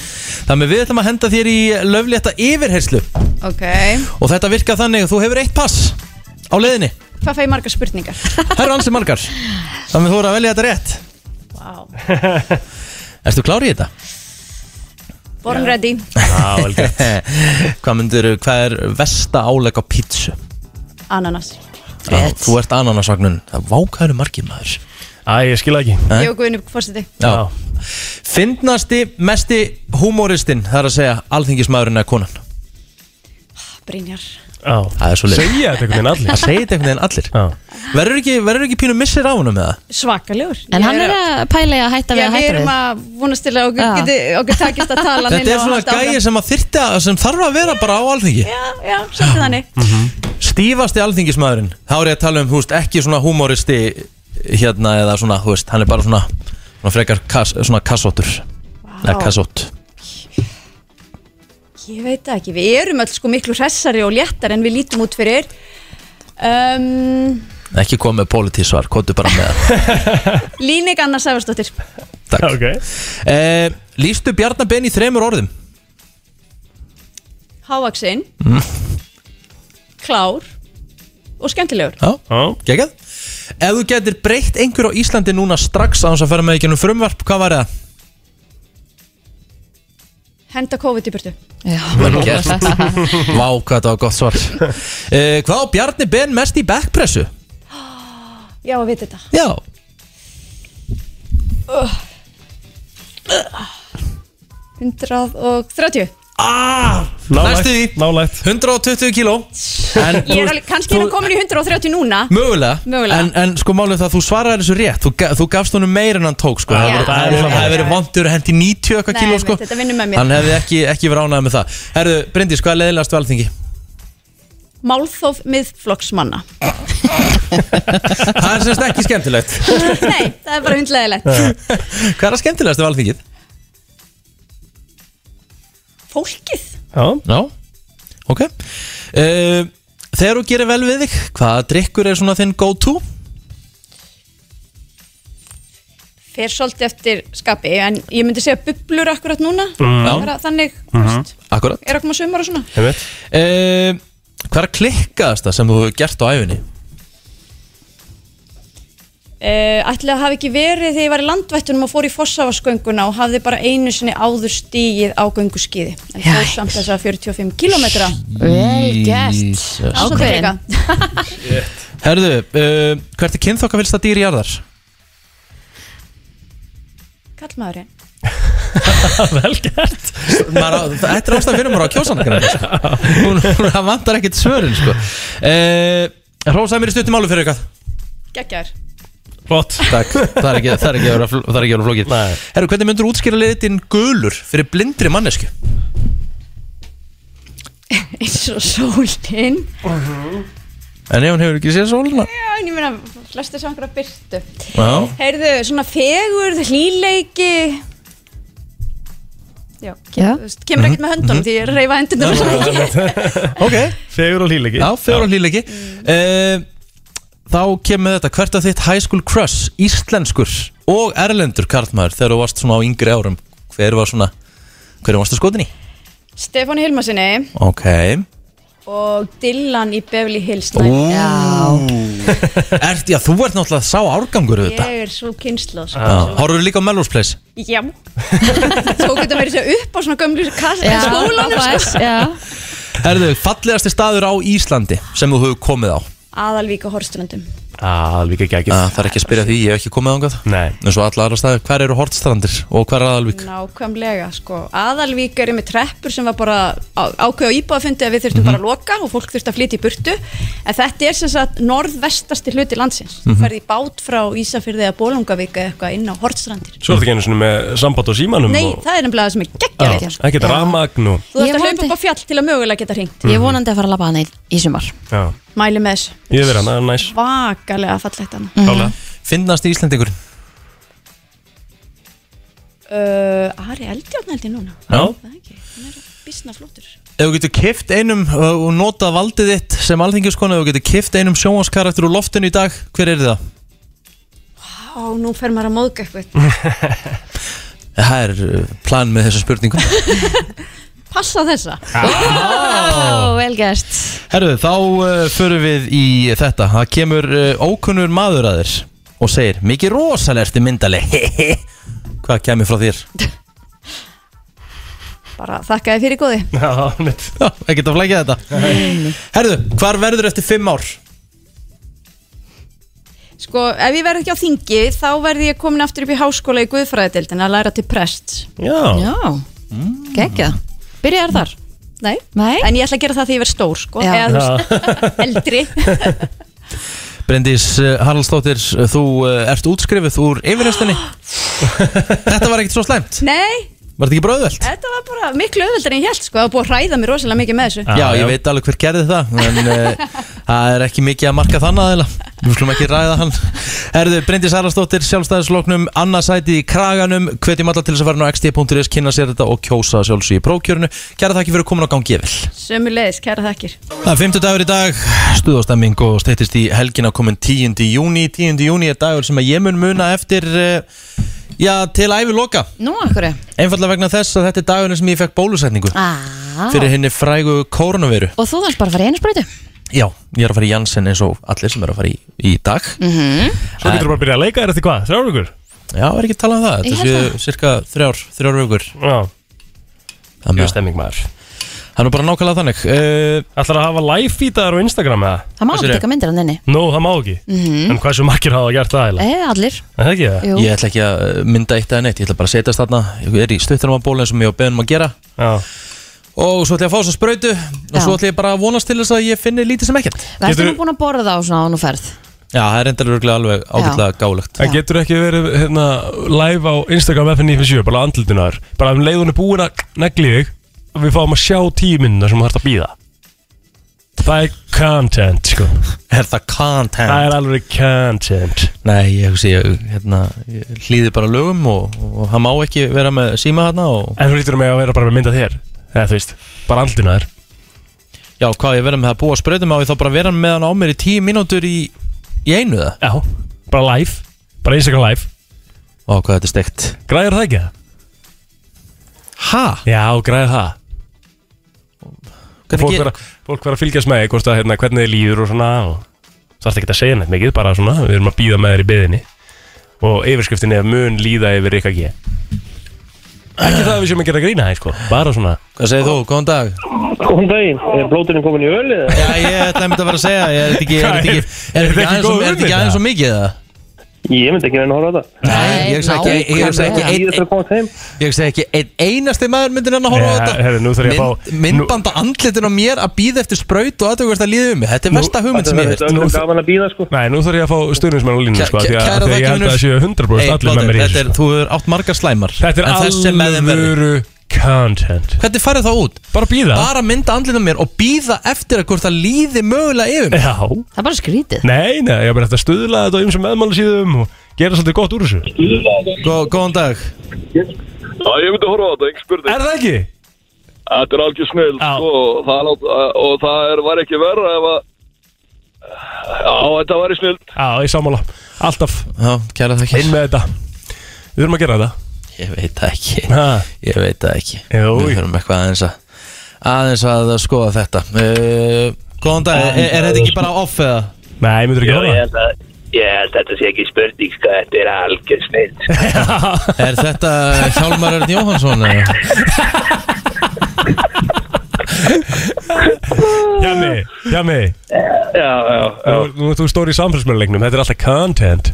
[SPEAKER 2] þannig við ætlum að henda þér í löflétta yfirherslu
[SPEAKER 8] Ok,
[SPEAKER 2] og þetta virka þannig að þú hefur eitt pass á leiðinni,
[SPEAKER 8] hvað fæði marga
[SPEAKER 4] <laughs>
[SPEAKER 8] spurningar?
[SPEAKER 2] það eru ansi margar þannig þú eru að velja þetta rétt
[SPEAKER 8] Wow.
[SPEAKER 2] Erstu klár í þetta?
[SPEAKER 8] Born ready
[SPEAKER 3] Já, vel gert
[SPEAKER 2] <laughs> hvað, myndir, hvað er versta áleg á pítsu?
[SPEAKER 8] Ananas
[SPEAKER 2] Já, þú ert ananasvagnun Það vákaður margir maður
[SPEAKER 3] Æ, ég skil það ekki
[SPEAKER 2] Eh?
[SPEAKER 8] Ég og Guðinu fórseti
[SPEAKER 3] Já.
[SPEAKER 2] Fyndnasti, mesti humoristinn Það er að segja alþingismæðurinn eða konan
[SPEAKER 8] Brynjar
[SPEAKER 3] Já
[SPEAKER 2] Það er svo leið
[SPEAKER 3] Segja þetta einhvern veginn allir
[SPEAKER 2] Það segir þetta einhvern veginn allir
[SPEAKER 3] Já
[SPEAKER 2] Verður ekki, verður ekki pínu missir á húnum með það?
[SPEAKER 8] Svakalegur
[SPEAKER 4] en hann er að pæla í að hætta við
[SPEAKER 8] Já,
[SPEAKER 4] að
[SPEAKER 8] við
[SPEAKER 4] hætta
[SPEAKER 8] erum
[SPEAKER 4] við
[SPEAKER 8] að vonast til að okkur,
[SPEAKER 4] Já.
[SPEAKER 8] geti, okkur takist að
[SPEAKER 4] <laughs>
[SPEAKER 8] tala
[SPEAKER 2] Þetta er svona gæi sem, að þyrta, sem þarf að vera bara á alþingi
[SPEAKER 8] Já, já, svolítið þannig
[SPEAKER 2] Stífasti alþingismæðurinn Þá er ég að tala um, þú veist, ekki svona humoristi Hérna eða svona, þú veist, hann er bara svona, svona Frekar kass, svona kassóttur Eða kassótt
[SPEAKER 8] Ég veit það ekki, við erum öll sko miklu hressari og léttar en við lítum út fyrir um,
[SPEAKER 2] Ekki komið pólitísvar, kóttu bara með
[SPEAKER 8] <laughs>
[SPEAKER 2] það
[SPEAKER 8] Línik Anna Sæfarsdóttir
[SPEAKER 2] Takk
[SPEAKER 3] Ok
[SPEAKER 2] Eh, Lýstu Bjarnabenn í þremur orðum
[SPEAKER 8] Hávaksinn
[SPEAKER 4] Mm.
[SPEAKER 8] Klár Og skemmtilegur
[SPEAKER 2] Já,
[SPEAKER 3] Já
[SPEAKER 2] geggjað Ef þú getur breytt einhver á Íslandi núna strax á hans að fara með ekki um frumvarp, hvað var
[SPEAKER 8] <laughs>
[SPEAKER 2] það?
[SPEAKER 8] Henda COVID í burtu
[SPEAKER 2] Vel gert Vá, hvað þetta var gott svar eh, Hvað á Bjarni Ben mest í backpressu?
[SPEAKER 8] Já, að vita þetta
[SPEAKER 2] Já ah,
[SPEAKER 3] Nálægt,
[SPEAKER 2] Næstu því
[SPEAKER 3] Nálægt
[SPEAKER 2] 120 kíló En
[SPEAKER 8] Ég
[SPEAKER 2] þú-
[SPEAKER 8] er alveg, kannski er
[SPEAKER 2] þú-
[SPEAKER 8] hann komin í 130 núna
[SPEAKER 2] Mögulega,
[SPEAKER 8] Mögulega.
[SPEAKER 2] En, en sko málið er það að þú svaraði þessu rétt Þú, ga- þú gafst honum meir en hann tók sko.
[SPEAKER 8] Já.
[SPEAKER 2] Það hefði verið- það hefði verið vondur að hendi 90 eitthvað
[SPEAKER 8] Nei,
[SPEAKER 2] kíló
[SPEAKER 8] einmitt,
[SPEAKER 2] sko.
[SPEAKER 8] þetta vinnur með mér.
[SPEAKER 2] Hann hefði ekki, ekki verið ánægð með það Herðu, Bryndís, hvað er leiðilegast við
[SPEAKER 8] <laughs>
[SPEAKER 2] alþingi?
[SPEAKER 8] Málþóf
[SPEAKER 2] <laughs>
[SPEAKER 8] miðflokksmanna
[SPEAKER 2] Það er semst ekki skemmtilegt <laughs>
[SPEAKER 8] Nei, það er bara hundlegilegt
[SPEAKER 2] Hvað er að skemmtilegast við alþingið?
[SPEAKER 8] Fólkið
[SPEAKER 3] Já
[SPEAKER 2] Já, ok uh, Þegar þú gerir vel við þig Hvaða drikkur er svona þinn go to?
[SPEAKER 8] fer svolítið eftir skapi En ég myndi segja bublur akkurat núna
[SPEAKER 2] Mm-hmm.
[SPEAKER 8] bara Þannig, mm
[SPEAKER 2] Akkurat
[SPEAKER 8] er að koma sumar og svona
[SPEAKER 3] Ég veit
[SPEAKER 2] uh, Hvað er að klikkaðast það sem þú hefur gert á æfinni?
[SPEAKER 8] uh, Ætli að hafi ekki verið þegar ég var í landvættunum og fór í fossafaskönguna og hafði bara einu sinni áður stíið á gönguskíði Ég fór
[SPEAKER 4] Jæks.
[SPEAKER 8] samt þess að 45 kilometra
[SPEAKER 4] <laughs> vel gert
[SPEAKER 2] Jesus.
[SPEAKER 4] ákveðin
[SPEAKER 2] Herðu, uh, hvert er kynþokkafylsta dýr í jarðar?
[SPEAKER 8] Kallmaðurinn
[SPEAKER 3] Vel gert
[SPEAKER 2] maður, á- þetta er ástæðan fyrir maður á kjósanakræðin sko. hún, hún það vantar ekkert svörin sko. eh, Rósaði mér í stuttum álu fyrir eitthvað <laughs>
[SPEAKER 8] Gekkjar
[SPEAKER 3] Flott
[SPEAKER 2] Takk, það er ekki, það er ekki, að vera fl- það er ekki að vera flókið
[SPEAKER 3] Nei.
[SPEAKER 2] Herru, hvernig myndur útskýra liðin gulur fyrir blindri mannesku?
[SPEAKER 8] Eins og sólinn
[SPEAKER 2] En ef hún hefur ekki séð sóluna
[SPEAKER 8] Já, en ég meina, flestir sem einhverja byrtu
[SPEAKER 2] Já,
[SPEAKER 8] Heyrðu, svona fegurð, hlýleiki já, kem,
[SPEAKER 4] Já. Mhm.
[SPEAKER 8] þú veist, kemur ekkert með höndunum því ég reyfa hendunum svo mikið
[SPEAKER 2] Ok,
[SPEAKER 3] Fegur og hlýleiki
[SPEAKER 2] já, fyrir hann líleiki Eh, Þá kemur þetta Hvert að þitt high school crush Íslenskur og erlendur karlmaður Þegar þú varst svona á yngri árum Hver var svona, hver varstu skotin í?
[SPEAKER 8] Stefáni Hilmarsinni
[SPEAKER 2] Ok
[SPEAKER 8] og Dylan í Beverly Hills
[SPEAKER 2] Ú,
[SPEAKER 8] Night
[SPEAKER 2] ert, já, þú ert náttúrulega sá árgangur
[SPEAKER 8] Ég
[SPEAKER 2] auðvitað
[SPEAKER 8] er svo kynslu
[SPEAKER 4] Ah.
[SPEAKER 8] sko.
[SPEAKER 2] Háruðu líka á Melrose Place?
[SPEAKER 8] Já Tók þetta meira sér upp á svona gömlu
[SPEAKER 4] Já,
[SPEAKER 8] kassa skólanum sko.
[SPEAKER 4] ABS, já.
[SPEAKER 2] Herðu, fallegasti staður á Íslandi sem þú hefur komið á
[SPEAKER 8] Aðalvík og Horströndum
[SPEAKER 3] Alveg ekki ekki
[SPEAKER 2] Æ, Það er ekki að spyrja því, ég hef ekki komið ángað
[SPEAKER 3] Nei
[SPEAKER 2] En svo alla aðra staði, hver eru Hortstrandir og hver er Aðalvík?
[SPEAKER 8] Nákvæmlega sko Aðalvík er með treppur sem var bara á- ákveða á íbúðafundi að við þurftum bara að loka og fólk þurfti að flytja í burtu en þetta er sem sagt norðvestasti hluti landsins þú ferði í bát frá Ísafyrði eða Bólungavík eða eitthvað inn á Hortstrandir
[SPEAKER 3] Svo er þetta ekki einu svona með samband á símanum
[SPEAKER 8] Nei,
[SPEAKER 3] og,
[SPEAKER 8] það er nefnilega það sem er geggjaveit
[SPEAKER 3] það Ekki þetta ramagn og
[SPEAKER 8] sko. Þú þarfst
[SPEAKER 4] Ég
[SPEAKER 8] að hlaupa
[SPEAKER 4] vonandi-
[SPEAKER 8] upp á fjall til að mögulega geta hringt
[SPEAKER 4] Ég er vonandi að fara að labba hann í, í sumar
[SPEAKER 3] Já
[SPEAKER 8] Mæli með þessu
[SPEAKER 3] Ég verið hann, það er næs
[SPEAKER 8] Vakalega fallegt hann
[SPEAKER 3] Klálega
[SPEAKER 2] Finnast í Íslandingur?
[SPEAKER 8] uh, Ari Eldjón held ég núna
[SPEAKER 3] Já
[SPEAKER 8] Það er ekki, hann er bísna flottur
[SPEAKER 2] Ef þú getur kift einum uh, og notað valdið þitt sem alþingiskonu Ef þú getur kift einum sjónvaskarakter úr loftinu í dag, hver er það?
[SPEAKER 8] Á, nú fer maður að móðga eitthvað
[SPEAKER 2] Það er uh, plan með þessa spurningum
[SPEAKER 8] Passa þessa
[SPEAKER 4] Ó, vel gert
[SPEAKER 2] Herðu, þá uh, förum við í þetta Það kemur uh, ókunnur maður að þér og segir Mikið rosalerti myndaleg <laughs> Hvað kemur frá þér?
[SPEAKER 8] Bara þakka þið fyrir góði
[SPEAKER 3] Já, mitt
[SPEAKER 2] Já, ekkert að flækja þetta Herðu, hvar verður eftir fimm ár?
[SPEAKER 8] Sko, ef ég verð ekki á þingi þá verð ég komin aftur upp í háskóla í Guðfræðadeildin að læra til prest
[SPEAKER 3] Já Mm.
[SPEAKER 4] Já, geggjað Byrjaðar þar?
[SPEAKER 8] Nei
[SPEAKER 4] Nei?
[SPEAKER 8] En ég ætla að gera það því ég verð stór, sko
[SPEAKER 4] Já.
[SPEAKER 8] Eða, þú veist, eldri
[SPEAKER 2] Bryndís uh, Haraldsdóttir, uh, þú uh, ert útskrifið úr yfirherstunni <gasps> Þetta var ekkert svo slæmt
[SPEAKER 8] Nei,
[SPEAKER 2] Var þetta ekki bröðvelt?
[SPEAKER 8] þetta var bara miklu öðvöldar en ég held, sko Það var búið að hræða mér rosalega mikið með þessu
[SPEAKER 2] Já, ég veit alveg hver gerði það En uh, það er ekki mikið að marka þann aðeila Við skulum ekki ræða hann Herðu, Bryndís Haraldsdóttir, sjálfstæðisloknum Annarsæti í kraganum Hvetjum alla til þess að fara á xd.is Kynna sér þetta og kjósa sjálfsög í prókjörnu Kæra þakki fyrir komin á gangi yfir
[SPEAKER 8] Sömuleiðis, kæra þakkir
[SPEAKER 2] Það er 50 dagur í dag, stuðastemming og steyttist í helgina komin 10. júni 10. júni er dagur sem að ég mun muna eftir eh, já, til æfi loka
[SPEAKER 4] Nú, akkur
[SPEAKER 2] einfallega vegna þess að þetta er dagurinn sem ég fekk bólusetningu
[SPEAKER 4] ah.
[SPEAKER 2] fyrir henni frægu koronaviru
[SPEAKER 4] Og þú þarfst bara að fara í einu sprötu
[SPEAKER 2] Já, ég er að fara í Janssen eins og allir sem eru að fara í, í dag
[SPEAKER 4] Mm. Mhm.
[SPEAKER 3] Svo getur bara að byrja að leika þér eftir hvað? Þrjár vikur?
[SPEAKER 2] Já, er ekki að tala um það,
[SPEAKER 4] Ég
[SPEAKER 2] þetta
[SPEAKER 4] held
[SPEAKER 2] séu cirka þrjár, þrjár vögur
[SPEAKER 3] Já
[SPEAKER 2] Þannig
[SPEAKER 3] Mjög
[SPEAKER 2] að
[SPEAKER 3] stemming maður
[SPEAKER 2] það er nú bara nákvæmlega þannig uh,
[SPEAKER 3] Ætlar að hafa live feedar á Instagram eða?
[SPEAKER 4] Það má
[SPEAKER 2] Hvað
[SPEAKER 4] ekki
[SPEAKER 2] segirðu?
[SPEAKER 4] taka myndir hann inni
[SPEAKER 3] Nú, það má ekki En hversu margir hafa gert það eiginlega?
[SPEAKER 4] Eða Eh, allir
[SPEAKER 3] Er það ekki það?
[SPEAKER 4] Jú.
[SPEAKER 2] Ég ætla ekki að eh, mynda eitt eða neitt, ég ætla bara að setjast þarna Ég er í stuttarmabólu eins og mér og beðum að gera
[SPEAKER 3] Já
[SPEAKER 2] Og svo ætla ég að fá þess sprautu Og
[SPEAKER 4] Já.
[SPEAKER 2] svo ætla ég bara að vonast til þess að ég finni lítið sem ekkert
[SPEAKER 4] Verður
[SPEAKER 3] Getur-
[SPEAKER 4] nú búin að borða þá svona án og ferð
[SPEAKER 2] Já, það er reyndar örgulega alveg ágætlega gálegt
[SPEAKER 3] En getur ekki verið hérna, live á Instagram FN97, bara andlitunar bara um leiðunni búin að negli þig og við fáum að sjá tíminna sem þú þarfst að býða Það er content sko.
[SPEAKER 2] Er það content?
[SPEAKER 3] Það er alveg content
[SPEAKER 2] Nei, ég hugsi, ég, hérna, ég hlýði bara lögum og, og hann má ekki vera með síma hérna og
[SPEAKER 3] En þú lítur mig að vera bara með mynda þér eða þú veist, bara andlitunar
[SPEAKER 2] já, hvað ég verið með það að búa sprautum á ég þá bara vera með hann á mér í tíu mínútur í, í einu það
[SPEAKER 3] Já, bara live, bara Instagram live
[SPEAKER 2] Ó, hvað þetta er steikt
[SPEAKER 3] Græðir það ekki það?
[SPEAKER 2] Ha?
[SPEAKER 3] Já, græðir það
[SPEAKER 2] Hvernig
[SPEAKER 3] Fólk
[SPEAKER 2] ekki-
[SPEAKER 3] vera, fólk vera að fylgjast með þig, hvort að hérna, hvernig þið líður og svona og það er ekki að segja neitt mikið, bara svona við erum að býða með þér í byðinni og yfirskriftin er mun líða yfir ykkar ekki ekki það að við séum að gera grína það sko, bara svona
[SPEAKER 2] Hvað segir þú? Góðan dag
[SPEAKER 6] Góðan daginn, er blóturinn komin í ölið?
[SPEAKER 2] Já, ég ætla einmitt að vera að segja Er þetta ekki, er þetta ekki, er þetta ekki, aðeins og- er þetta ekki aðeins og mikið það?
[SPEAKER 6] Ég myndi ekki reyna að horfa á þetta.
[SPEAKER 2] Nei, ég sagði ekki, ég sagði ekki,
[SPEAKER 6] Ég
[SPEAKER 2] ein,
[SPEAKER 6] líður til að komast heim.
[SPEAKER 2] Ég segi ekki, ein, einasti maður myndir hann að horfa á
[SPEAKER 3] Ja,
[SPEAKER 2] þetta
[SPEAKER 3] herri, nú þarf ég að fá-
[SPEAKER 2] Myndbanda andlitin á mér að býða eftir spraut og aðtöku hvert að líða um mig Þetta er versta hugmynd sem ég
[SPEAKER 6] Þetta er
[SPEAKER 2] hef
[SPEAKER 6] öllum gaman að býða sko.
[SPEAKER 3] Nei, nú þarf ég að fá stöðnismenn á línu
[SPEAKER 2] Kæ-
[SPEAKER 3] sko, af því að,
[SPEAKER 2] kæra
[SPEAKER 3] af því að ég
[SPEAKER 2] þakkir,
[SPEAKER 3] held að
[SPEAKER 2] vinur.
[SPEAKER 3] það séu 100% allir með mér í þessu
[SPEAKER 2] er,
[SPEAKER 3] sko.
[SPEAKER 2] þú er átt margar slæmar
[SPEAKER 3] Þetta
[SPEAKER 2] en þessi
[SPEAKER 3] er
[SPEAKER 2] með þeim verður.
[SPEAKER 3] alvöru content
[SPEAKER 2] Hvernig farið það út?
[SPEAKER 3] Bara býða
[SPEAKER 2] Bara mynda andlitin á mér og býða eftir að hvort það líði mögulega yfir mig
[SPEAKER 3] Já,
[SPEAKER 4] Það er bara skrítið
[SPEAKER 3] nei, nei, ég er bara eftir að stuðla þetta á ymsum meðmálusíðum og gera svolítið gott úr þessu
[SPEAKER 2] Gó, Góðan dag
[SPEAKER 5] Já, ég myndi horfa á þetta, engin spurning
[SPEAKER 3] Er það ekki?
[SPEAKER 5] Þetta er algjör snill
[SPEAKER 3] Já.
[SPEAKER 5] sko, og það, lát, og það er, var ekki verra ef að Já, þetta var í snild
[SPEAKER 3] Já, ég sammála Alltaf
[SPEAKER 2] Já, kæra þakkir
[SPEAKER 3] inn með þetta Við þurfum að gera þetta
[SPEAKER 2] Ég veit það ekki
[SPEAKER 3] Ha,
[SPEAKER 2] Ég veit það ekki
[SPEAKER 3] Jú.
[SPEAKER 2] Við höfum eitthvað aðeins að aðeins að skoða þetta uh, Góðan dag, er, er þetta ekki bara off eða?
[SPEAKER 3] Nei, myndur ekki
[SPEAKER 6] Jó, ég
[SPEAKER 3] gera
[SPEAKER 6] held að Ég held að þetta sé ekki spurning, sko, þetta er algjör sko. snill.
[SPEAKER 3] <laughs> það
[SPEAKER 2] Er þetta Hjálmar Örn Jóhansson? eða?
[SPEAKER 3] Hjami, Hjami
[SPEAKER 6] Já, já, já.
[SPEAKER 3] nú- Nú ert þú stóri í samfélsmjörnleiknum Þetta er alltaf content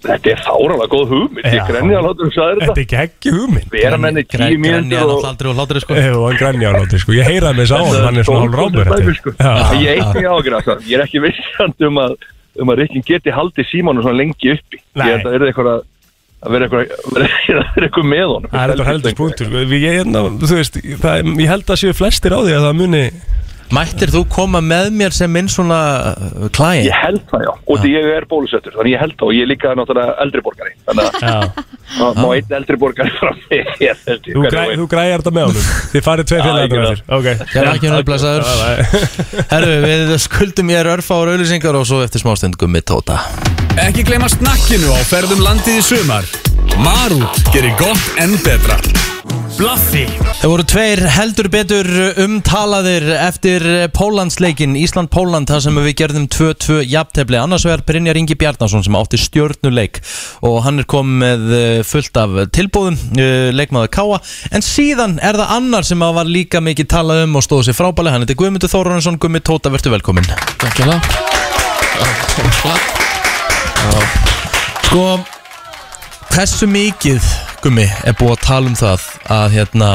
[SPEAKER 5] Þetta er fáralega góð hugmynd,
[SPEAKER 3] Já.
[SPEAKER 5] ég grenja að láta um sæður
[SPEAKER 3] Þetta
[SPEAKER 5] þetta
[SPEAKER 3] er ekki ekki hugmynd
[SPEAKER 5] Við erum henni tíu
[SPEAKER 2] Græn- Grænja er
[SPEAKER 5] mínútur og
[SPEAKER 2] náttúrulega aldrei og hlátur sko
[SPEAKER 3] Ef hann grænja á nóti sko Ég heyra með sá hann Hann er svona hálf rámur
[SPEAKER 5] Dæmi, sko.
[SPEAKER 3] Já,
[SPEAKER 5] Ég er ekki ágjur að það, ég er ekki vissand um að um að Rikkin geti haldið símánu svona lengi uppi
[SPEAKER 3] Nei.
[SPEAKER 5] Ég held að það er eitthvað að að vera eitthvað vera- <laughs> að vera eitthvað með honum
[SPEAKER 3] Það er þetta heldur punktur sko. Við- ég, hérna, þú veist, það, ég held að séu flestir á því að það muni
[SPEAKER 2] Mættir þú koma með mér sem minn svona uh, client?
[SPEAKER 5] Ég held það já, og því ég er bólusettur þannig ég held það og ég er líka náttúrulega eldri borgari þannig að
[SPEAKER 3] Já. <laughs>
[SPEAKER 5] það má einn eldri borgari fram mig ég held ég
[SPEAKER 3] Þú,
[SPEAKER 5] hverju
[SPEAKER 3] græ,
[SPEAKER 5] veit.
[SPEAKER 3] þú græjar þetta með honum Þið farið tvei
[SPEAKER 5] Já, ég
[SPEAKER 3] félagarnir
[SPEAKER 5] gera
[SPEAKER 3] eftir okay.
[SPEAKER 2] Kæra ekki henni blessaður Herru, við skuldum ég örfa ára auðlýsingar og svo eftir smástund gummi tóta
[SPEAKER 1] Ekki gleyma snakkinu á ferðum landið í sumar Marút gerir gott enn betra
[SPEAKER 3] Blaffi
[SPEAKER 2] Það voru tveir heldur betur umtalaðir eftir Pólandsleikin, Ísland-Póland, þar sem við gerðum 2-2 jafntefli. Annars vegar Brynjar Ingi Bjarnason sem átti stjörnuleik og hann er komið með eh, fullt af tilbúðum, eh, leikmaður Káa. En síðan er það annar sem að var líka mikið talað um og stóð sér frábælega. Hann heitir Guðmundur Þórunnsson, Guðmund Tóta, verður velkominn.
[SPEAKER 9] Takk ég það
[SPEAKER 2] Sko, hversu mikið, Gummi, er búið að tala um það að hérna,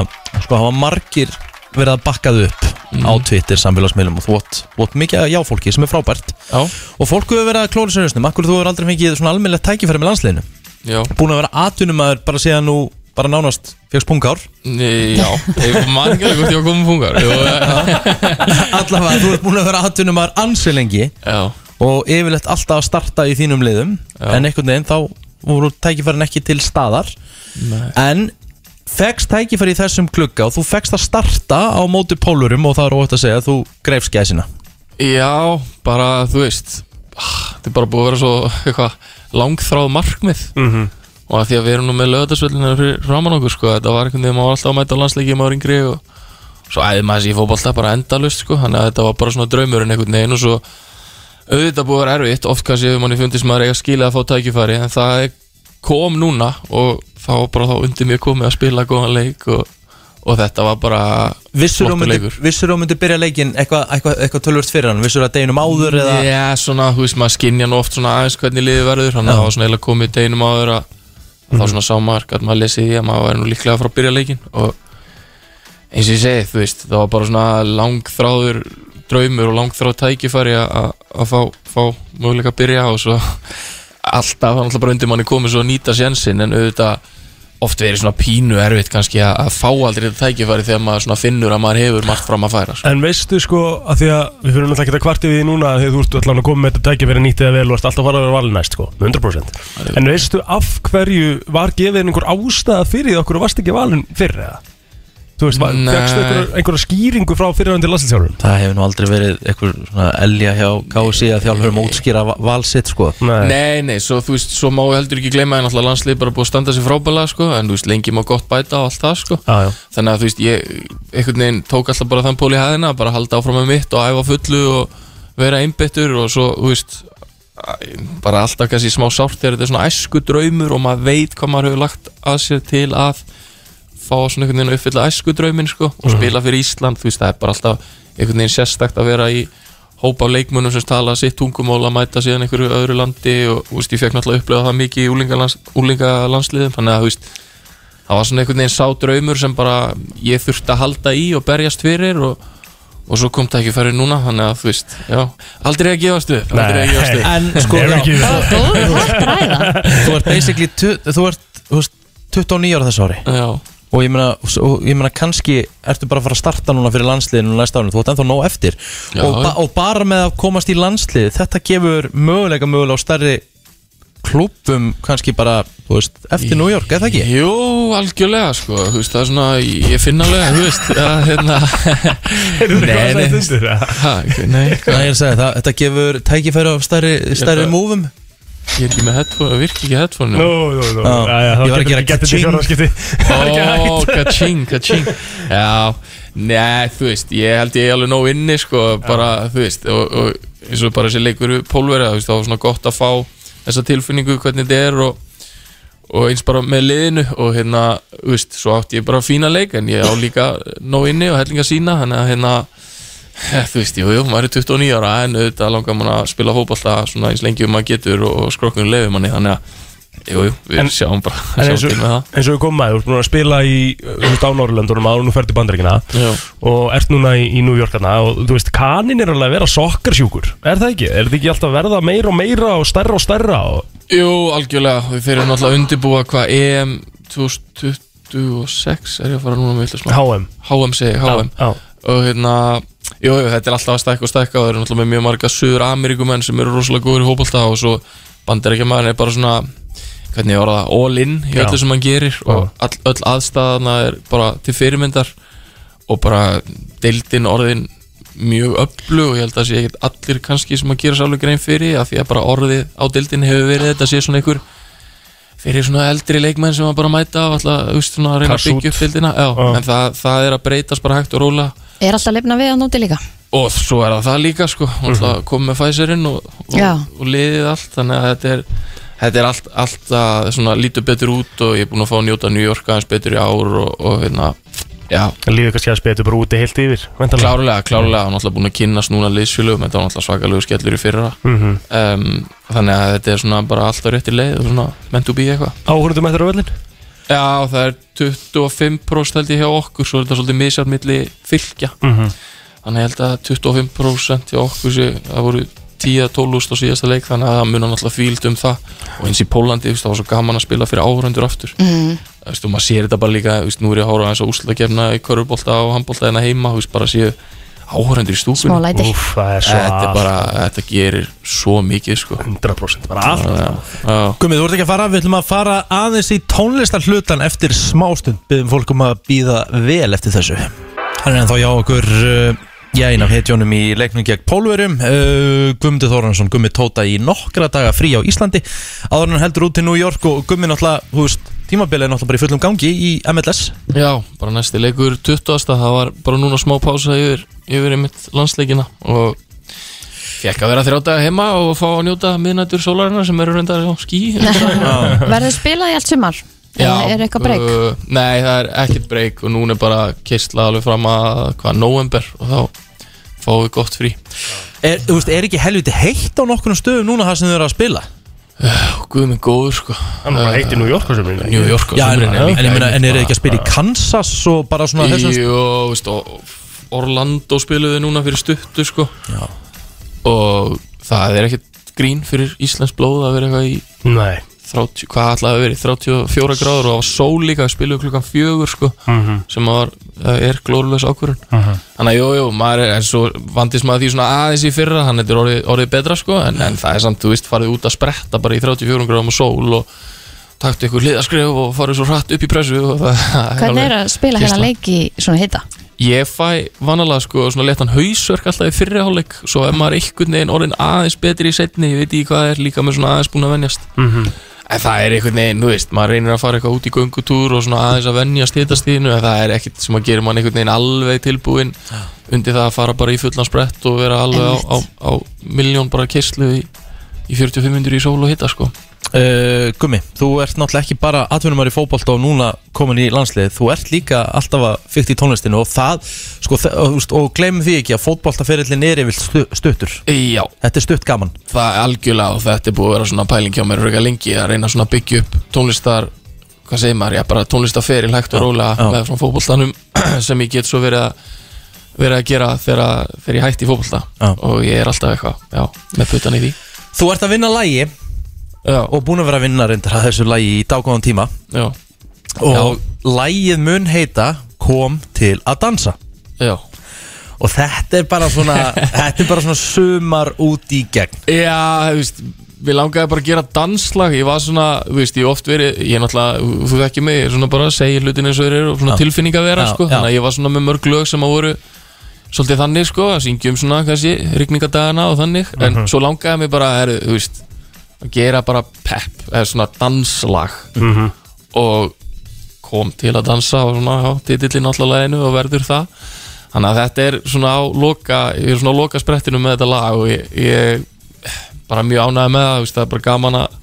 [SPEAKER 2] sko, hafa margir verið að bakkað upp á Twitter samfélagsmiðlum og þú vott, vott mikið að jáfólki sem er frábært
[SPEAKER 9] Já,
[SPEAKER 2] og fólk hefur verið að klóra sér hausnum, akkur þú hefur aldrei fengið svona almennilegt tækifæri með landsliðinu
[SPEAKER 9] já,
[SPEAKER 2] búin að vera atvinnumæður bara síðan nú bara nánast fegst punkár
[SPEAKER 9] Nei, já Ég man ekki alveg hvort ég var komið fungar Jú, Já,
[SPEAKER 1] <laughs>
[SPEAKER 2] allavega, þú ert búin að vera atvinnumæður ansi lengi
[SPEAKER 9] já,
[SPEAKER 2] og yfirlegt alltaf að starta í þínum liðum en einhvern veginn þá voru tækifærin ekki til staðar
[SPEAKER 9] Nei.
[SPEAKER 2] en fegst tækifæri í þessum klukka og þú fegst að starta á móti pólurum og það er óhætt að segja að þú greifst gæsina
[SPEAKER 9] já bara, þú veist ah, Þetta er bara búið að vera svo eitthvað langþráð markmið
[SPEAKER 3] Mhm.
[SPEAKER 9] og að því að við erum nú með lögðarsvöldinu fyrir framan okkur, sko, þetta var einhvern veginn maður var alltaf að mæta á landsleiki maður yngri og svo æði maður sér í fótbolta bara endalust, sko þannig að þetta var bara svona draumurinn einhvern veginn og svo auðvitað búið að vera erfitt oft kannski hefur manni fundist maður eiga skilið að fá tækifæri en það er- kom núna og þá var bara þá undir mér komið að spila góðan leik og, og þetta var bara
[SPEAKER 2] Vissur þú
[SPEAKER 9] flottur
[SPEAKER 2] myndi,
[SPEAKER 9] leikur.
[SPEAKER 2] vissir þú myndi byrja leikin eitthvað eitthva, eitthva tölvöld fyrir hann, vissur þú að deginum áður eða
[SPEAKER 9] Já, svona, þú veist, maður skinja nú oft svona aðeins hvernig liðið verður Þannig að það
[SPEAKER 2] Já. Mhm.
[SPEAKER 9] var svona eiginlega komið deginum áður að mm. Þá svona sá maður, gæt maður lesið því að maður væri nú líklega að fara að byrja leikinn Og eins og ég segi, þú veist, það var bara svona langþráður draumur og langþráð tækifæri að- að að fá, fá möguleika að byrja og svo alltaf, hann alltaf bara undir manni komið svo að nýta sjensin en auðvitað oft verið svona pínu erfitt kannski að, að fá aldrei þetta tækifæri þegar maður svona finnur að maður hefur margt fram að færa sko.
[SPEAKER 3] En veistu sko að því að við fyrir náttúrulega ekki að kvarti við því núna þegar þú ert allan að koma með þetta tækja verið nýttið að vel og ert alltaf að fara að vera valin næst sko 100% En veistu af hverju var gefið einhver ástæða fyrir því okkur og varst ekki valin fyrir eða? Þú veist, var-
[SPEAKER 9] Nei.
[SPEAKER 3] fékkstu einhverja einhver skýringu frá fyrirhandi landslýsjálfum?
[SPEAKER 2] það hefur nú aldrei verið eitthvað svona elja hjá KSI að þjálfurum útskýra va- val sitt
[SPEAKER 9] <laughs>
[SPEAKER 2] sko
[SPEAKER 3] Nei,
[SPEAKER 9] Nei, nei, svo þú veist, svo má heldur ekki gleyma en alltaf landslið bara búið að standa sér frábælega sko, en þú veist, lengi má gott bæta og allt það sko.
[SPEAKER 3] Já, já.
[SPEAKER 9] þannig að þú veist, ég einhvern veginn tók alltaf bara þann pól í hæðina bara halda áfram með mitt og æfa fullu og vera einbyttur og svo, þú veist æ, bara alltaf kannski smá sárt þegar þetta er svona æsku draumur og maður veit hvað maður hefur lagt að sér til að fá svona einhvern veginn að uppfylla æsku draumin sko, og spila fyrir Ísland, þú veist, það er bara alltaf einhvern veginn sérstakt að vera í hópa af leikmönnum sem tala sitt tungumál að mæta síðan einhverju öðru landi og þú veist, ég fekk náttúrulega að upplega það mikið í úlingalans, úlingalandsliðum, þannig að þú veist það var svona einhvern veginn sá draumur sem bara ég þurfti að halda í og berjast fyrir og, og svo kom það ekki færið núna þannig að þú veist, já, aldrei að gefast upp aldrei að gefast upp
[SPEAKER 2] en sko,
[SPEAKER 3] Never
[SPEAKER 2] já, <laughs>
[SPEAKER 3] give
[SPEAKER 4] Það var góð hægt ræða
[SPEAKER 2] þú ert basically tu- þú ert, þú ert 29 ára þessu ári
[SPEAKER 9] já,
[SPEAKER 2] og ég meina, og ég meina kannski ertu bara að fara að starta núna fyrir landsliðinu næsta árinu, þú ert ennþá nóg eftir
[SPEAKER 9] Já,
[SPEAKER 2] og, ba
[SPEAKER 9] já.
[SPEAKER 2] og bara með að komast í landslið þetta gefur möguleika mögulega á stærri klúpum kannski bara, þú veist, eftir New York, eða ekki?
[SPEAKER 9] Jú, algjörlega sko, þú veist, það er svona, ég finn alveg, þú veist, að
[SPEAKER 3] <laughs>
[SPEAKER 9] hérna,
[SPEAKER 3] Erum við
[SPEAKER 2] Nei,
[SPEAKER 3] hvað
[SPEAKER 2] nei.
[SPEAKER 3] það stundir? eða?
[SPEAKER 9] ha, nei, hvað,
[SPEAKER 2] Nei, ég er að segja, það, þetta gefur tækifæri á stærri, stærri
[SPEAKER 9] Þetta-
[SPEAKER 2] múfum
[SPEAKER 9] ég er ekki með headphone, virki ekki headphone
[SPEAKER 3] Nú, nú, nú,
[SPEAKER 2] Já.
[SPEAKER 3] já, já, þá
[SPEAKER 2] Ég var að
[SPEAKER 3] getur
[SPEAKER 2] gera
[SPEAKER 3] ekki gett þetta í
[SPEAKER 2] ka-ching.
[SPEAKER 3] fjórðarskipti
[SPEAKER 9] Ó, ka-ching, ka-ching Já, nei, þú veist Ég held ég alveg nóg inni, sko bara, þú veist, og, og eins og bara þessi leikur við pólverið, þú veist, þá var svona gott að fá þessa tilfinningu hvernig þetta er og, og eins bara með liðinu og hérna, þú veist, svo átti ég bara fína leik en ég á líka nóg inni og hellinga sína, þannig að hérna eh, þú veist, jú, jú, maður er 29 ára en auðvitað langar mann að spila fótballta svona eins lengi um maður getur og skrokkunum leifir manni þannig að, jú, jú, við
[SPEAKER 3] En-
[SPEAKER 9] sjáum bara
[SPEAKER 3] En
[SPEAKER 9] sjáum
[SPEAKER 3] eins og,
[SPEAKER 9] til með það
[SPEAKER 3] eins og við komum að, þú ert búin að spila í þú veist, á Norrlöndunum áður en þú ferð til Bandaríkina
[SPEAKER 9] Já.
[SPEAKER 3] og ert núna í, í New York hana og þú veist, kanin er alveg að vera sokkarsjúkur er það ekki? Er þetta ekki alltaf að verða meira og meira og stærra og stærra og,
[SPEAKER 9] Jú, algjörlega, við fyrir náttúrulega að undirbúa hvað E EM 2026 er ég að fara núna með yllu smá
[SPEAKER 3] HM
[SPEAKER 9] HM segi, ég, HM
[SPEAKER 3] Já,
[SPEAKER 9] og hérna, jú, jú, þetta er alltaf að stækka og stækka og það eru náttúrulega með mjög marga sögur Ameríkumenn sem eru rosalega góður í hópulta og svo bandarækjamaðurinn er bara svona hvernig ég var það, all in í
[SPEAKER 3] Já.
[SPEAKER 9] öllu sem hann gerir
[SPEAKER 3] Já.
[SPEAKER 9] og all, öll aðstæðana er bara til fyrirmyndar og bara deildin orðin mjög öflug og ég held að það sé ekkert allir kannski sem að gera sálu grein fyrir af því að bara orðið á deildin hefur verið þetta sé svona einhver fyrir svona eldri leikmenn sem að bara mæta og alltaf, þú veist, svona að reyna að
[SPEAKER 3] Kassút.
[SPEAKER 9] byggja upp deildina já,
[SPEAKER 3] Já.
[SPEAKER 9] en það, það er að breytast bara hægt og róla
[SPEAKER 4] Er alltaf lefna við að nóti líka?
[SPEAKER 9] og svo er það það líka sko mm -hmm. komið með Pfizerinn og, og,
[SPEAKER 4] Já.
[SPEAKER 9] og liðið allt þannig að þetta er, þetta er allt, allt að svona lítur betur út og ég er búin að fá að njóta New York aðeins betur í ár og, og hérna, já,
[SPEAKER 3] lífið kannski að spila bara úti heilt yfir væntanlega.
[SPEAKER 9] klárlega, klárlega og náttúrulega búin að kynnast núna liðsfjölugum, þetta var náttúrulega svakalegu skellur í fyrra
[SPEAKER 3] Mhm.
[SPEAKER 9] um, þannig að þetta er svona bara alltaf rétti leið og svona meant to be eitthvað
[SPEAKER 3] Áhorfendum eftir á völlin?
[SPEAKER 9] Já, það er 25% held ég hjá okkur svo er þetta svolítið misjátt milli fylgja
[SPEAKER 3] Mhm.
[SPEAKER 9] Þannig ég held að 25% hjá okkur sé, það voru 10-12 á síðasta leik þannig að það munar náttúrulega fíld um það og eins í Pólandi, þú veist, það var svo gaman að spila fyrir áhörundur aftur
[SPEAKER 4] Mm.
[SPEAKER 9] Þú veist, og maður sér þetta bara líka, þú veist, nú er ég að hóra eins og úslutakefna í körfubolta og handbolta hérna heima þú veist, bara séu áhörundur í stúkunni
[SPEAKER 4] Smá læti.
[SPEAKER 3] Úf, það er svo
[SPEAKER 9] Þetta er bara, þetta gerir svo mikið, sko
[SPEAKER 3] 100% bara allt
[SPEAKER 9] Já,
[SPEAKER 2] Guðmið, þú ert ekki að fara, við ætlum að fara aðeins í tónlistar hlutan eftir smástund Byðum fólkum um að býða vel eftir þessu Hann er ennþá hjá okkur, uh, já, einn af hetjónum í leiknum gegn Pólverum uh, Guðmundur Þóransson, Guðmi Tóta í nokkra daga frí á Íslandi Áður en hann heldur út til New York og Guðmi náttúrulega, þú veist, tímabilið er náttúrulega bara í fullum gangi í MLS
[SPEAKER 9] Já, bara næsti leikur 20. það var bara núna smá pása yfir, yfir einmitt landsleikina og fekk að vera þrjá daga heima og fá að njóta miðnættur sólarinnar sem eru reyndar á skí
[SPEAKER 4] <laughs> Verður spilað í allt sumar? Eða Er eitthvað breyk?
[SPEAKER 9] Uh, nei, það er ekkert breyk og núna er bara kistla alveg fram að hvað, november og þá fáum við gott frí
[SPEAKER 2] er, Þú veist, er ekki helviti heitt á nokkurnum stöðum núna það sem þau eru að spila?
[SPEAKER 9] og guð minn góður sko
[SPEAKER 3] Hann er bara heitt í New York á sumrin.
[SPEAKER 9] New York á
[SPEAKER 2] Já, en,
[SPEAKER 9] Sko, sumrin er
[SPEAKER 2] en,
[SPEAKER 9] líka
[SPEAKER 2] en, en, en er
[SPEAKER 9] bara-
[SPEAKER 2] ekki að spila í Kansas og bara svona þessum
[SPEAKER 9] Jó, veist, og Orlando spiluðu núna fyrir stuttu sko.
[SPEAKER 2] Já.
[SPEAKER 9] og það er ekkert grín fyrir Íslands blóð að vera eitthvað í
[SPEAKER 3] Nei
[SPEAKER 9] 30, hvað ætlaði að vera í 34 gráður og það var sól líka, við spiluðu klukkan fjögur sko,
[SPEAKER 3] Mhm.
[SPEAKER 9] sem var, er glórulegs ákvörun
[SPEAKER 2] Mhm.
[SPEAKER 9] þannig að jú, jú, maður er en svo vandist maður því svona aðeins í fyrra þannig að þetta er orðið, orðið betra sko, en, en það er samt, þú veist, farið út að spretta bara í 34 gráðum og sól og taktu ykkur liðaskrif og farið svo hratt upp í pressu og það,
[SPEAKER 4] Hvernig er að spila hérna
[SPEAKER 9] Kistla.
[SPEAKER 4] leik í svona hita?
[SPEAKER 9] Ég fæ vanalega sko svona letan hausverk alltaf í fyrri hálfleik Svo ef maður einhvern veginn orðin aðeins betri í setni Ég veit ekki hvað það er líka með svona aðeins búin að venjast En það er einhvern veginn, þú veist, maður reynir að fara eitthvað út í göngutúr Og svona aðeins að venjast hitastíðinu En það er ekkert sem að gera mann einhvern veginn alveg tilbúinn Undir það að fara bara í fullan sprett Og vera alveg á, á, á miljón bara keislu í, í 45 hundur í sól og hitta sko
[SPEAKER 2] Uh, Gummi, þú ert náttúrulega ekki bara atvinnumar í fótbolta og núna komin í landslið þú ert líka alltaf að fyrkt í tónlistinu og það, sko, þe- og, þú veist, og gleymum því ekki að fótboltaferillin er yfir stu, stuttur
[SPEAKER 9] Já,
[SPEAKER 2] þetta er stutt gaman
[SPEAKER 9] það er algjörlega og þetta er búið að vera svona pæling hjá mér röka lengi að reyna svona að byggja upp tónlistar hvað segir maður, já bara tónlistarferil hægt og rólega
[SPEAKER 2] já.
[SPEAKER 9] með frá fótboltanum <clears throat> sem ég get svo verið að verið að gera þegar, að- þegar ég hætti í fótbolta
[SPEAKER 2] Já.
[SPEAKER 9] og ég er alltaf eitthvað, já, með putan í því
[SPEAKER 2] þú ert að vinna lægi
[SPEAKER 9] Já,
[SPEAKER 2] og búin að vera að vinna reyndar að þessu lægi í dágóðan tíma
[SPEAKER 9] já,
[SPEAKER 2] og lægið mun heita kom til að dansa
[SPEAKER 9] já
[SPEAKER 2] og þetta er bara svona þetta er bara svona sumar út í gegn
[SPEAKER 9] Já, þú veist, við langaði bara að gera danslag ég var svona, þú veist, ég oft verið ég er náttúrulega, þú vekki mig, ég er svona bara að segja hlutin eins og þeir eru og svona
[SPEAKER 2] Já.
[SPEAKER 9] tilfinning að vera
[SPEAKER 2] Já,
[SPEAKER 9] sko,
[SPEAKER 2] já.
[SPEAKER 9] þannig að ég var svona með mörg lög sem að voru svolítið þannig sko, að syngjum svona kannski, rigningadagana og þannig en svo langaði mig bara, heru, þú veist að gera bara pep eða svona danslag og kom til að dansa og svona, já, titillin alltaf læginu og verður það þannig að þetta er svona á loka, ég er svona á loka sprettinu með þetta lag og ég, ég bara mjög ánægði með það, þú veist, það er bara gaman að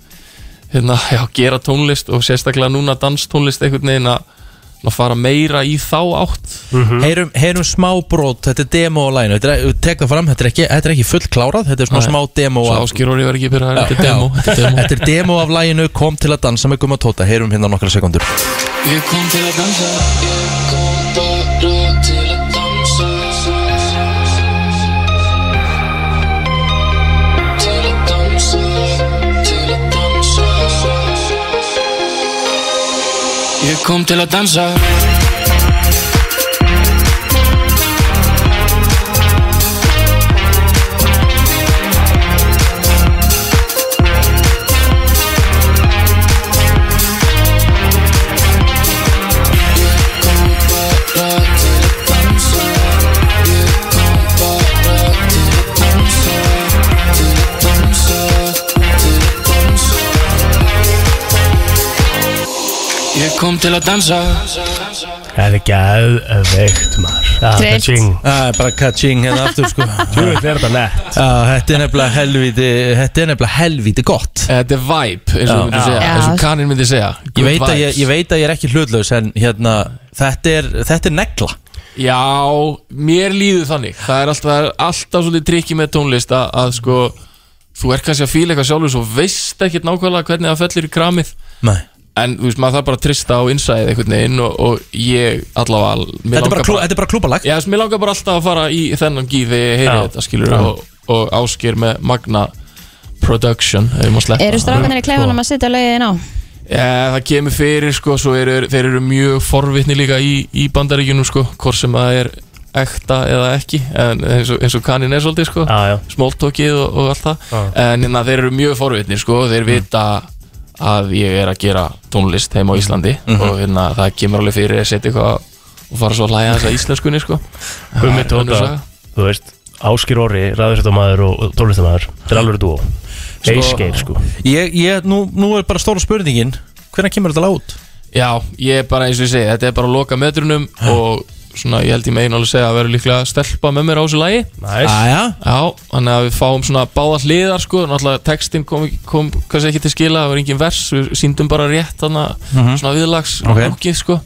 [SPEAKER 9] hérna, <laughs> já, gera tónlist og sérstaklega núna danstónlist einhvern veginn að að fara meira í þá átt
[SPEAKER 2] heyrum, heyrum smá brot, þetta er demo á læginu Þetta er- tek það fram, þetta er ekki, þetta er ekki full klárað þetta er svona
[SPEAKER 9] Nei.
[SPEAKER 2] smá demo
[SPEAKER 9] Svo
[SPEAKER 2] af,
[SPEAKER 9] áskýr orðið verið ekki fyrir það, þetta er
[SPEAKER 2] Já.
[SPEAKER 9] demo, þetta er
[SPEAKER 2] <laughs>
[SPEAKER 9] demo.
[SPEAKER 2] þetta er demo af læginu kom til að dansa með Guma Tóta, heyrum hérna nokkra sekundur
[SPEAKER 9] Ég kom til að dansa Ég kom bara til að dansa Til að dansa Til að dansa Ég kom til að dansa Ég kom til að dansa
[SPEAKER 3] Það er geðveikt maður Það er
[SPEAKER 4] Trillt.
[SPEAKER 3] ching
[SPEAKER 2] Það er bara catching hérna aftur sko
[SPEAKER 3] Þú veit, er þetta nett
[SPEAKER 2] Já, Þetta er nefnilega helviti Þetta er nefnilega helviti gott
[SPEAKER 9] Eh, Þetta er vibe, eins og þú
[SPEAKER 2] Já.
[SPEAKER 9] myndir segja
[SPEAKER 4] Já.
[SPEAKER 9] eins og kaninn myndi segja
[SPEAKER 2] Ég
[SPEAKER 9] Good
[SPEAKER 2] veit, að ég,
[SPEAKER 9] vibes.
[SPEAKER 2] ég veit að ég er ekki hlutlaus en hérna, þetta er, þetta er negla
[SPEAKER 9] Já, mér líður þannig Það er alltaf, það er alltaf svolítið trikki með tónlist að, að sko þú er kannski að fíla eitthvað sjálfur svo veist ekkert nákvæmlega hvernig það fellir í kramið
[SPEAKER 2] Nei.
[SPEAKER 9] en þú veist, maður þarf bara að trista á innsæðið einhvern veginn og, og ég allavega mér
[SPEAKER 2] Þetta er bara,
[SPEAKER 9] langar
[SPEAKER 2] klú, þetta er bara klúbalag
[SPEAKER 9] Já, þess, mér langar bara alltaf að fara í þennan gíð þegar ég heyri
[SPEAKER 3] Já.
[SPEAKER 9] þetta skilur og, og ásker með Magna Production ef ég má sleppa.
[SPEAKER 4] Eru strákanir í kleifanum að setja lögin á?
[SPEAKER 9] Já, það kemur fyrir sko, svo eru, þeir eru mjög forvitni líka í, í bandaríkjunum sko, hvort sem það er ekta eða ekki, en eins og, eins og kanin er svolítið sko,
[SPEAKER 3] Já, já
[SPEAKER 9] smóltókið og, og allt það, en na, þeir eru mjög forvitni sko,
[SPEAKER 3] Mm.
[SPEAKER 9] þeir vita að ég er að gera tónlist heim á Íslandi
[SPEAKER 3] Mhm.
[SPEAKER 9] og hérna, það kemur alveg fyrir að setja eitthvað og fara svo að læja þess að íslenskunni sko.
[SPEAKER 3] Gummi
[SPEAKER 9] Það er önnur
[SPEAKER 3] Tóta.
[SPEAKER 9] saga.
[SPEAKER 3] Þú veist, Áskýr Orri, ræðursættamæður og tónlistamæður Þetta er alveg dúo Eisgeir, sko
[SPEAKER 2] ég, ég, nú, nú er bara stóra spurningin Hvernig kemur þetta lag út?
[SPEAKER 9] Já, ég er bara eins og ég segi, þetta er bara að loka metrunum og svona, ég held ég megin alveg að segja að vera líklega stelpa með mér á þessu lagi
[SPEAKER 3] Næs
[SPEAKER 2] Aja,
[SPEAKER 9] Já, þannig að við fáum svona báða hliðar sko, náttúrulega textin kom, kom kannski ekki til skila, það var engin vers við síndum bara rétt þannig svona viðlags
[SPEAKER 2] Mhm. Ok.
[SPEAKER 9] lúkið, sko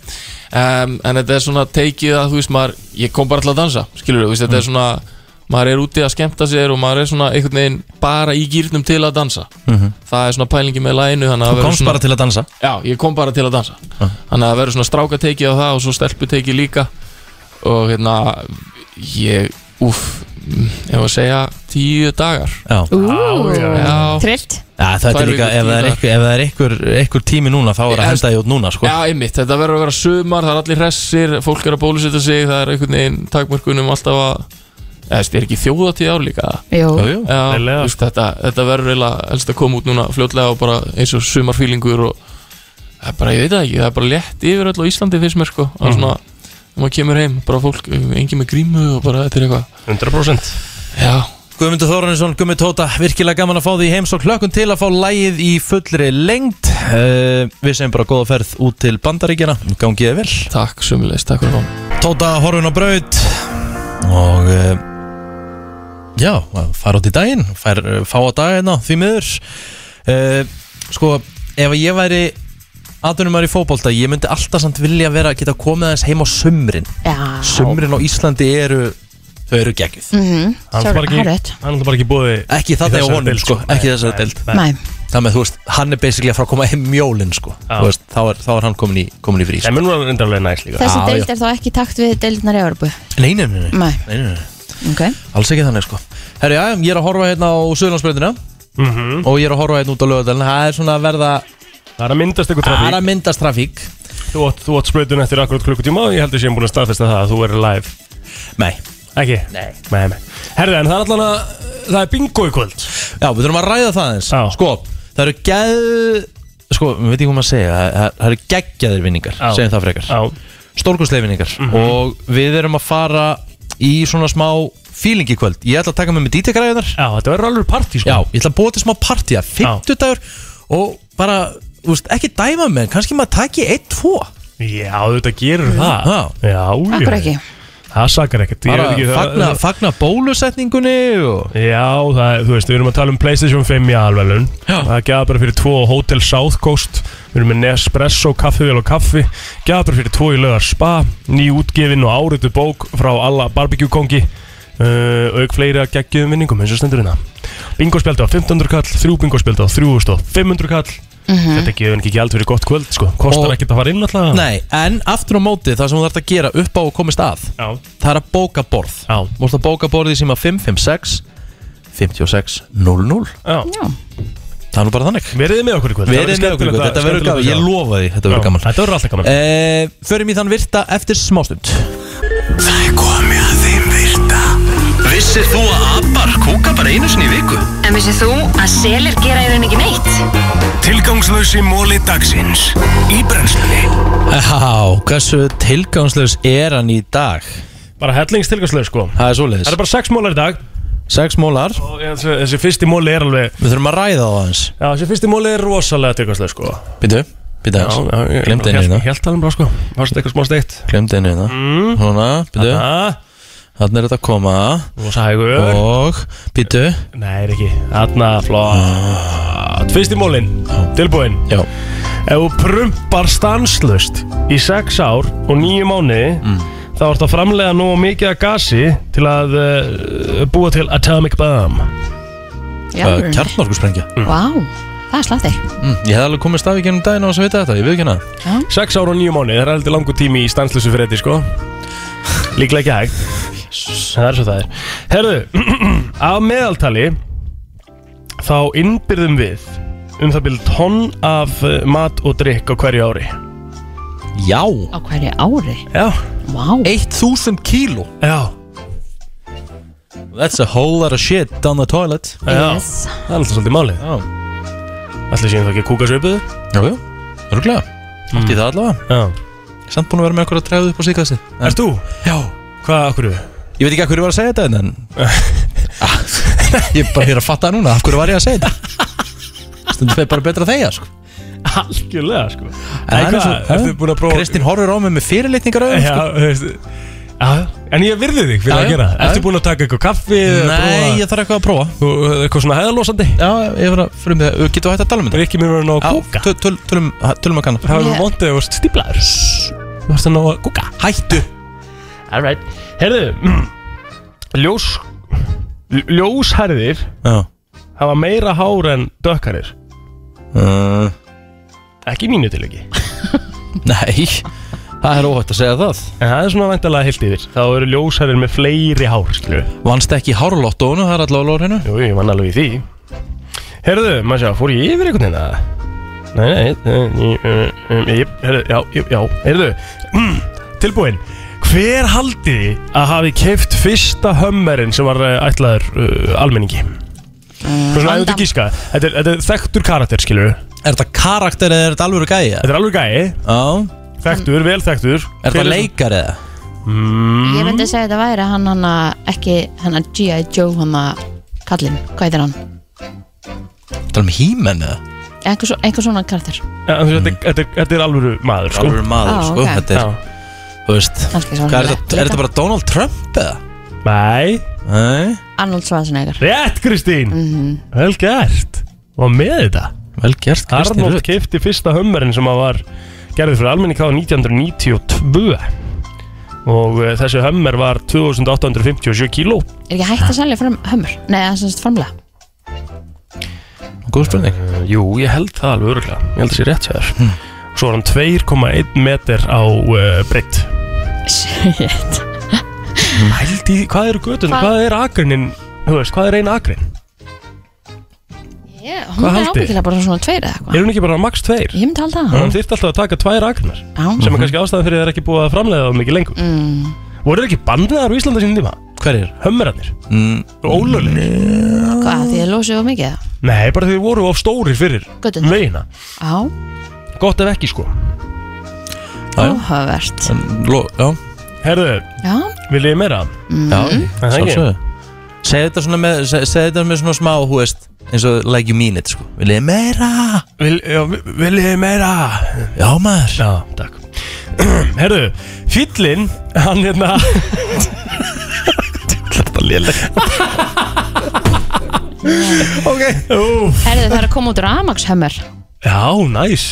[SPEAKER 9] um, en þetta er svona teikið að þú veist maður ég kom bara til að dansa, skilur þú veist þetta er
[SPEAKER 2] Mm.
[SPEAKER 9] svona, maður er úti að skemmta sér og maður er svona einhvern veginn bara í gýrnum til að dansa, það er svona pælingi með læginu, þannig að
[SPEAKER 2] Mhm. þú
[SPEAKER 9] verður
[SPEAKER 2] komst
[SPEAKER 9] svona,
[SPEAKER 2] bara til að dansa
[SPEAKER 9] Já, ég kom bara til að dansa Þannig að það verður svona strákateikið á það og svo stelputeikið líka Og hérna, ég, úff, mm, ef að segja tíu dagar
[SPEAKER 2] Já,
[SPEAKER 4] Ú,
[SPEAKER 9] Já.
[SPEAKER 4] trillt
[SPEAKER 2] ja, þetta
[SPEAKER 9] Tvær
[SPEAKER 2] er líka,
[SPEAKER 9] vikur,
[SPEAKER 2] ef það
[SPEAKER 9] tíu
[SPEAKER 2] er einhver, ef það er einhver, einhver tími núna þá er að
[SPEAKER 9] Ég-
[SPEAKER 2] henda því út núna sko
[SPEAKER 9] Já, einmitt, þetta verður að vera sumar, það er allir hressir, fólk er að bólusetja sig Það er einhvern veginn takmörkunum alltaf að Eða, þetta er ekki þjóðatíð ár líka
[SPEAKER 4] Jú,
[SPEAKER 2] Jú, jú.
[SPEAKER 9] Já,
[SPEAKER 3] Eiginlega.
[SPEAKER 9] þú veist, þetta, þetta verður eiginlega helst að koma út núna fljótlega og bara eins og sumarfílingur og það er bara, ég veit það ekki, það er bara létt yfir öll á Íslandi fyrst mér sko og svona, þegar maður kemur heim, bara fólk, engin með grímu og bara þetta er eitthvað
[SPEAKER 3] 100%
[SPEAKER 9] Já,
[SPEAKER 2] Guðmundur Þóruninsson, Guðmund Tóta, virkilega gaman að fá því heim svo klökkun til að fá lægið í fullri lengt uh, Við segjum bara góða ferð út til Bandaríkjana, gangi þið vel
[SPEAKER 9] takk sömulegis, takk fyrir að koma
[SPEAKER 2] Tóta horfin á braut og uh, já, fara út í daginn fær, eh, fá á dagina því miður uh, sko, ef ég væri aðdunumar í fótbolta ég myndi alltaf samt vilja vera að geta komið aðeins heim á sumrin
[SPEAKER 4] já
[SPEAKER 2] sumrin á Íslandi eru þau eru geggjuð
[SPEAKER 4] Mhm,
[SPEAKER 3] Hann
[SPEAKER 4] Sorry,
[SPEAKER 3] er bara
[SPEAKER 4] hárrétt.
[SPEAKER 3] ekki, hann er bara ekki búið
[SPEAKER 2] ekki
[SPEAKER 3] Í
[SPEAKER 2] þarna hjá
[SPEAKER 3] þessari
[SPEAKER 2] honum
[SPEAKER 3] deild,
[SPEAKER 2] sko,
[SPEAKER 3] sko.
[SPEAKER 2] ekki í
[SPEAKER 3] Nei,
[SPEAKER 2] þessari
[SPEAKER 3] nei,
[SPEAKER 2] deild
[SPEAKER 3] nei.
[SPEAKER 4] Mæ,
[SPEAKER 2] þannig að þú veist, hann er basically að fara að koma heim mjólin sko,
[SPEAKER 3] Já.
[SPEAKER 2] Þú veist, þá, er, þá er hann komin í, komin í frís
[SPEAKER 3] Það er mér núna reyndarlega næs líka
[SPEAKER 4] þessi
[SPEAKER 2] Já,
[SPEAKER 4] deild er þá ekki í takt við deildnar í Európu
[SPEAKER 2] nei, nei, nei, nei, nei,
[SPEAKER 4] Mæ,
[SPEAKER 2] nei, nei.
[SPEAKER 4] ok
[SPEAKER 2] Alls ekki þannig sko Herri, já, ég er að horfa hérna á Suðurlandsbreytina
[SPEAKER 3] Mhm.
[SPEAKER 2] Og ég er að horfa hérna út á lögadalinn Það er svona að verða
[SPEAKER 3] Það er að myndast eitthvað
[SPEAKER 2] Það er
[SPEAKER 3] trafík
[SPEAKER 2] að myndast trafík
[SPEAKER 3] Þú átt, þú átt sprautun eftir akkurat klukkutíma og ég heldur sem búin að staðfesta það að þú verður live
[SPEAKER 2] Nei,
[SPEAKER 3] Ekki? Nei Nei, nei Herðu, en það er allan að Það er bingo í kvöld
[SPEAKER 2] Já, við þurfum að ræða það eins
[SPEAKER 3] Já.
[SPEAKER 2] Sko, það eru geð Sko, við veitum hvað maður að segja Það- Það það eru geggjaðir vinningar,
[SPEAKER 3] Já.
[SPEAKER 2] segjum það frekar
[SPEAKER 3] Já
[SPEAKER 2] Stórkostlega vinningar
[SPEAKER 3] Mhm.
[SPEAKER 2] Og við erum að fara í svona smá feeling í kvöld Ég ætla að taka með mig DJ-græðunar
[SPEAKER 3] Já, þetta verður alveg partí, sko
[SPEAKER 2] Já, ég ætla að búa til smá partíja 50 dagur og bara úst, ekki dæma mig, en kannski maður taki 1-2
[SPEAKER 3] Já, þetta gerur það
[SPEAKER 2] Já.
[SPEAKER 3] Já, já
[SPEAKER 4] Akkur ekki
[SPEAKER 3] Það sakar ekkert Ég
[SPEAKER 2] bara
[SPEAKER 3] veit ekki, það-
[SPEAKER 2] fagna, fagna bólusetningunni og...
[SPEAKER 3] Já, það, er- þú veist, við erum að tala um Playstation 5 í alvelun
[SPEAKER 2] Já.
[SPEAKER 3] Það er gæða bara fyrir tvo á Hotel South Coast Við erum með Nespresso, kaffivél og kaffi Gæða bara fyrir tvo í lögar spa Ný útgefin og áritu bók frá alla barbecue kongi uh, Auk fleiri að geggjum vinningum eins og stendur hérna Bingospjaldi á 1500 kall, þrjú bingospjaldi á 3500 kall Þetta er gefin ekki gjald fyrir gott kvöld, sko Kostar
[SPEAKER 2] Mhm. Og-
[SPEAKER 3] ekkert að fara inn alltaf
[SPEAKER 2] Nei, en aftur á móti það sem þú þarf að gera upp á og komist að
[SPEAKER 3] Já,
[SPEAKER 2] það er að bóka borð
[SPEAKER 3] já,
[SPEAKER 2] Múst að bóka borðið sem að 556 56 00
[SPEAKER 3] já
[SPEAKER 4] Já,
[SPEAKER 2] Það er nú bara þannig
[SPEAKER 3] Verið þið með okkur í kvöld
[SPEAKER 2] Verið með okkur í kvöld, þetta verður gaman Ég lofa því, þetta verður gaman
[SPEAKER 3] Þetta verður alltaf gaman
[SPEAKER 2] Eh, Förum í þann virta eftir smástund
[SPEAKER 1] Það er komið að þeim virta Vissir þú að abar kúka bara einu sinni í viku?
[SPEAKER 10] En vissið þú að selir gera í rauninni ekki neitt?
[SPEAKER 1] Tilgangslösi móli dagsins Í brennslunni
[SPEAKER 2] Já, hversu tilgangslegs er hann í dag?
[SPEAKER 3] Bara hellingstilgangslega, sko
[SPEAKER 2] Það er
[SPEAKER 3] Það
[SPEAKER 2] svoleiðis
[SPEAKER 3] eru bara sex mólar í dag
[SPEAKER 2] Sex mólar,
[SPEAKER 3] og þessi, þessi fyrsti móli er alveg
[SPEAKER 2] við þurfum að ræða það aðeins
[SPEAKER 3] Já, þessi fyrsti móli er rosalega tilkvæmslega sko
[SPEAKER 2] Býtu, býtu aðeins Glemdi henni hérna,
[SPEAKER 3] Helt alveg bara sko Varst eitthvað smá steikt
[SPEAKER 2] glemdi henni hérna Svona, býtu,
[SPEAKER 3] Já,
[SPEAKER 2] hann er þetta að koma
[SPEAKER 3] rosa hægur
[SPEAKER 2] Og, býtu
[SPEAKER 3] Nei, er ekki Þarna, flott Fyrsti mólin Tilbúinn
[SPEAKER 2] Já,
[SPEAKER 3] Ef þú prumpar stanslust í sex ár og nýju mánuði þá ertu að framlega nú mikið af gasi til að uh, búa til Atomic Bomb
[SPEAKER 4] já
[SPEAKER 2] uh, kjarnorkusprengja
[SPEAKER 4] Vá, það er slatti
[SPEAKER 2] Mm, Ég hef alveg komist af í gennum daginn á þess að vita þetta, ég veit ekki hana
[SPEAKER 3] Sex ár og nýju mánuði, það er heldur langur tími í stanslusu fyrir þetta, sko Líklega ekki hægt Það er svo það er Herðu, <clears throat> af meðaltali þá innbyrðum við um það byrð tonn af eh, mat og drikk á hverju ári
[SPEAKER 2] Já,
[SPEAKER 4] Á hverju ári
[SPEAKER 3] Já,
[SPEAKER 4] Vá,
[SPEAKER 2] 1000 kíló
[SPEAKER 3] já,
[SPEAKER 2] That's a whole lot of shit down the toilet
[SPEAKER 3] já
[SPEAKER 4] yes.
[SPEAKER 3] Það er alltaf svolítið málið
[SPEAKER 2] Já,
[SPEAKER 3] Allir séum það ekki að kúka svo uppiðu
[SPEAKER 2] já, já, örgulega Allt í það allavega,
[SPEAKER 3] Já
[SPEAKER 2] samt búin að vera með okkur að træða upp á síkastið
[SPEAKER 3] Erst þú?
[SPEAKER 2] Já,
[SPEAKER 3] Hvað, okkur?
[SPEAKER 2] Ég veit ekki að hverju var að segja þetta en- en <laughs> Ah, Ég er bara hér að fatta það núna Af hverju var ég að segja þetta Stundum fyrir bara betra að þegja sko.
[SPEAKER 3] Algjörlega, sko
[SPEAKER 2] En það er
[SPEAKER 3] hvað,
[SPEAKER 2] eins og-
[SPEAKER 3] ertu búin að prófa
[SPEAKER 2] Kristín horfir á mig með fyrirlitningar
[SPEAKER 3] Já, þú veist Já, en ég virði þig fyrir
[SPEAKER 2] Já,
[SPEAKER 3] að
[SPEAKER 2] já,
[SPEAKER 3] gera það.
[SPEAKER 2] já.
[SPEAKER 3] Ertu búin að taka eitthvað kaffi eða
[SPEAKER 2] Nei,
[SPEAKER 3] prófa-
[SPEAKER 2] ég þarf eitthvað að prófa
[SPEAKER 3] Þú, eitthvað svona hæðalósandi
[SPEAKER 2] Já, ég var að fyrir mig það Getur þú hægt að tala um þetta?
[SPEAKER 3] Rikki mér verið að ná að
[SPEAKER 2] Já,
[SPEAKER 3] kúka
[SPEAKER 2] töl- töl- tölum tölum að kanna
[SPEAKER 3] Það var
[SPEAKER 4] Ég-
[SPEAKER 3] vondið að þú varst stíplaður Þú varst að ná að kúka
[SPEAKER 2] Hættu
[SPEAKER 3] Alright Herðu <clears throat> Ljós Ljósherðir
[SPEAKER 2] Já
[SPEAKER 3] hafa meira hár en dökkarir
[SPEAKER 2] Uh,
[SPEAKER 3] Ekki í mínu til ekki
[SPEAKER 2] Nei, það er óhægt að segja það
[SPEAKER 3] En það er svona vantalega heilt yfir Þá eru ljósherðir með fleiri hár skilju
[SPEAKER 2] Vannst ekki í hárlóttónu, það er allavega lór hennu
[SPEAKER 3] Jú, ég vann alveg í því Herðu, maður sjá, fór ég yfir einhvern veginn að Nei, nei, nei, nei, nei Herðu, já, jú, já, <clears throat> herðu mm, Tilbúin Hver haldið þið að hafi keift fyrsta hömmerinn sem var eh, ætlaður uh, almenningi? Svo svona, ef þú ert
[SPEAKER 4] Van Damme.
[SPEAKER 3] að gíska þetta er, þetta er þekktur karakter, skilur
[SPEAKER 2] Er þetta karakter eða er þetta alvöru gæja?
[SPEAKER 3] Þetta er alveg gæi,
[SPEAKER 2] Já,
[SPEAKER 3] þekktur, vel þekktur Mm,
[SPEAKER 2] er
[SPEAKER 3] Hver
[SPEAKER 2] þetta leikar eða?
[SPEAKER 4] Ég myndi að segja þetta væri hann hann að ekki hann að G.I. Joe hann að kallinn, hvað heitir hann?
[SPEAKER 2] Tala um hímen eða?
[SPEAKER 4] Einhver, svo, einhver svona karakter,
[SPEAKER 3] Ja, þú veist, þetta, er- þetta, er- þetta er alvöru maður, sko
[SPEAKER 2] Mm. Alvöru maður,
[SPEAKER 4] Á,
[SPEAKER 2] sko,
[SPEAKER 4] ok.
[SPEAKER 2] þetta er,
[SPEAKER 3] Já.
[SPEAKER 2] þú veist
[SPEAKER 4] kannski
[SPEAKER 2] Hvað
[SPEAKER 4] svona
[SPEAKER 2] er þetta, er þetta bara Donald Trump eða?
[SPEAKER 3] Nei,
[SPEAKER 2] Nei,
[SPEAKER 4] Arnold Schwarzenegger
[SPEAKER 3] rétt Kristín Vel gert Og með þetta
[SPEAKER 2] vel gert Kristín
[SPEAKER 3] Arnold
[SPEAKER 2] Rutt
[SPEAKER 3] keipti fyrsta hummerinn sem að var gerðið fyrir almenning á 1992 og uh, þessi hummer var 2857 kíló
[SPEAKER 4] Er ekki hægt að selja fram hömur? Nei, það er semst framlega
[SPEAKER 2] Góð spurning
[SPEAKER 3] uh, Jú, ég held það alveg öruglega ég held þessi rétt sér mm. Svo var hann 2,1 meter á uh, breytt
[SPEAKER 4] Shit
[SPEAKER 3] Held í, hvað eru götun,
[SPEAKER 4] Hvað-
[SPEAKER 3] hvað er agrinin Þú veist, hvað er ein agrin? Hvað
[SPEAKER 4] yeah, Hún er
[SPEAKER 3] haldið?
[SPEAKER 4] ábyggilega bara svona tveir eða eitthvað
[SPEAKER 3] Er hún ekki bara max 2?
[SPEAKER 4] Ég myndi halda það
[SPEAKER 3] Hann þyrfti alltaf að taka tvær agrinar
[SPEAKER 4] Já,
[SPEAKER 3] Mhm. sem er kannski ástæðan fyrir að það er ekki búið að framlega það mikið lengur
[SPEAKER 4] mm,
[SPEAKER 3] Voru það ekki bannaðar á Íslanda sínum tíma?
[SPEAKER 2] Hverjir?
[SPEAKER 3] Hömmerarnir mm. Ólöflegir
[SPEAKER 4] Hvað, því þið losið of mikið?
[SPEAKER 3] Nei, bara þeir voru of stórir fyrir
[SPEAKER 4] Göturnar.
[SPEAKER 3] Veina
[SPEAKER 4] Á,
[SPEAKER 3] Gott ef ekki sko
[SPEAKER 4] áhugavert
[SPEAKER 2] Já,
[SPEAKER 3] Herðu,
[SPEAKER 4] Já,
[SPEAKER 3] viljið þið meira?
[SPEAKER 2] já,
[SPEAKER 3] það ekki?
[SPEAKER 2] sjálfsögðu Segðu þetta svona með, seg- segðu þetta með svona smá, hú veist eins og like you mean it, sko Viljið þið meira?
[SPEAKER 3] Vil, já, viljið þið meira?
[SPEAKER 2] Já, maður
[SPEAKER 3] Já, takk <clears throat> Herðu, fyllinn, hann hérna <laughs>
[SPEAKER 2] Þetta er léleg
[SPEAKER 3] Úf.
[SPEAKER 4] herðu það er að koma út rafmagnshömmur
[SPEAKER 3] Já, næs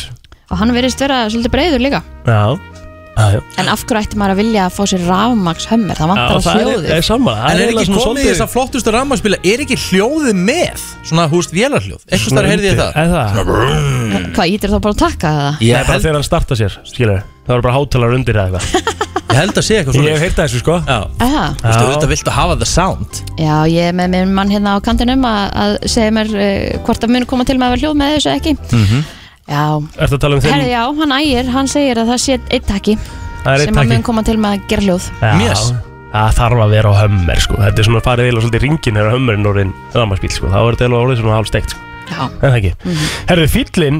[SPEAKER 4] og hann verðist vera svolítið breyður líka
[SPEAKER 3] Já, já, já.
[SPEAKER 4] en af hverju ætti maður að vilja að fá sér rafmagnshömmur það vantar að
[SPEAKER 3] það er,
[SPEAKER 4] hljóðu
[SPEAKER 3] er saman
[SPEAKER 2] En er ekki komið í þess að flottustu rammarspila Er ekki hljóðið með? Svona, hú veist, vélarhljóð Eitthvað starf heyrði ég það
[SPEAKER 3] Er það?
[SPEAKER 4] hvað ítir þá bara að taka það
[SPEAKER 3] Nei,
[SPEAKER 2] Ég
[SPEAKER 3] bara
[SPEAKER 2] held,
[SPEAKER 3] þegar hann starta sér, skilur Það var bara hátalar undir eða eitthvað
[SPEAKER 2] ég held að sé eitthvað
[SPEAKER 3] Ég
[SPEAKER 2] svona
[SPEAKER 3] hef heyrt það þessu sko
[SPEAKER 2] Já,
[SPEAKER 4] Aha.
[SPEAKER 2] þú veist, auðvitað viltu hafa the sound
[SPEAKER 4] Já, ég er með minn mann hérna á kantinum að, að segja mér uh, hvort það muni koma til með að vera hljóð með þessu eða ekki Já,
[SPEAKER 3] Ertu að tala um Mhm. þeim?
[SPEAKER 4] herðu já, hann ægir, hann segir að það sé eitt takki
[SPEAKER 3] það er
[SPEAKER 4] sem
[SPEAKER 3] eitt
[SPEAKER 4] að mun
[SPEAKER 3] takki
[SPEAKER 4] koma til með að gera hljóð
[SPEAKER 3] Já.
[SPEAKER 2] Mjöss.
[SPEAKER 3] Það þarf að vera á hömmer sko Þetta er svona farið eða svolítið ringin Þegar hömmerinn orðin rammarspíl sko Það var þetta eða orðið svona hálfsteikt sko
[SPEAKER 4] Já,
[SPEAKER 3] En það ekki Herðu, fýllinn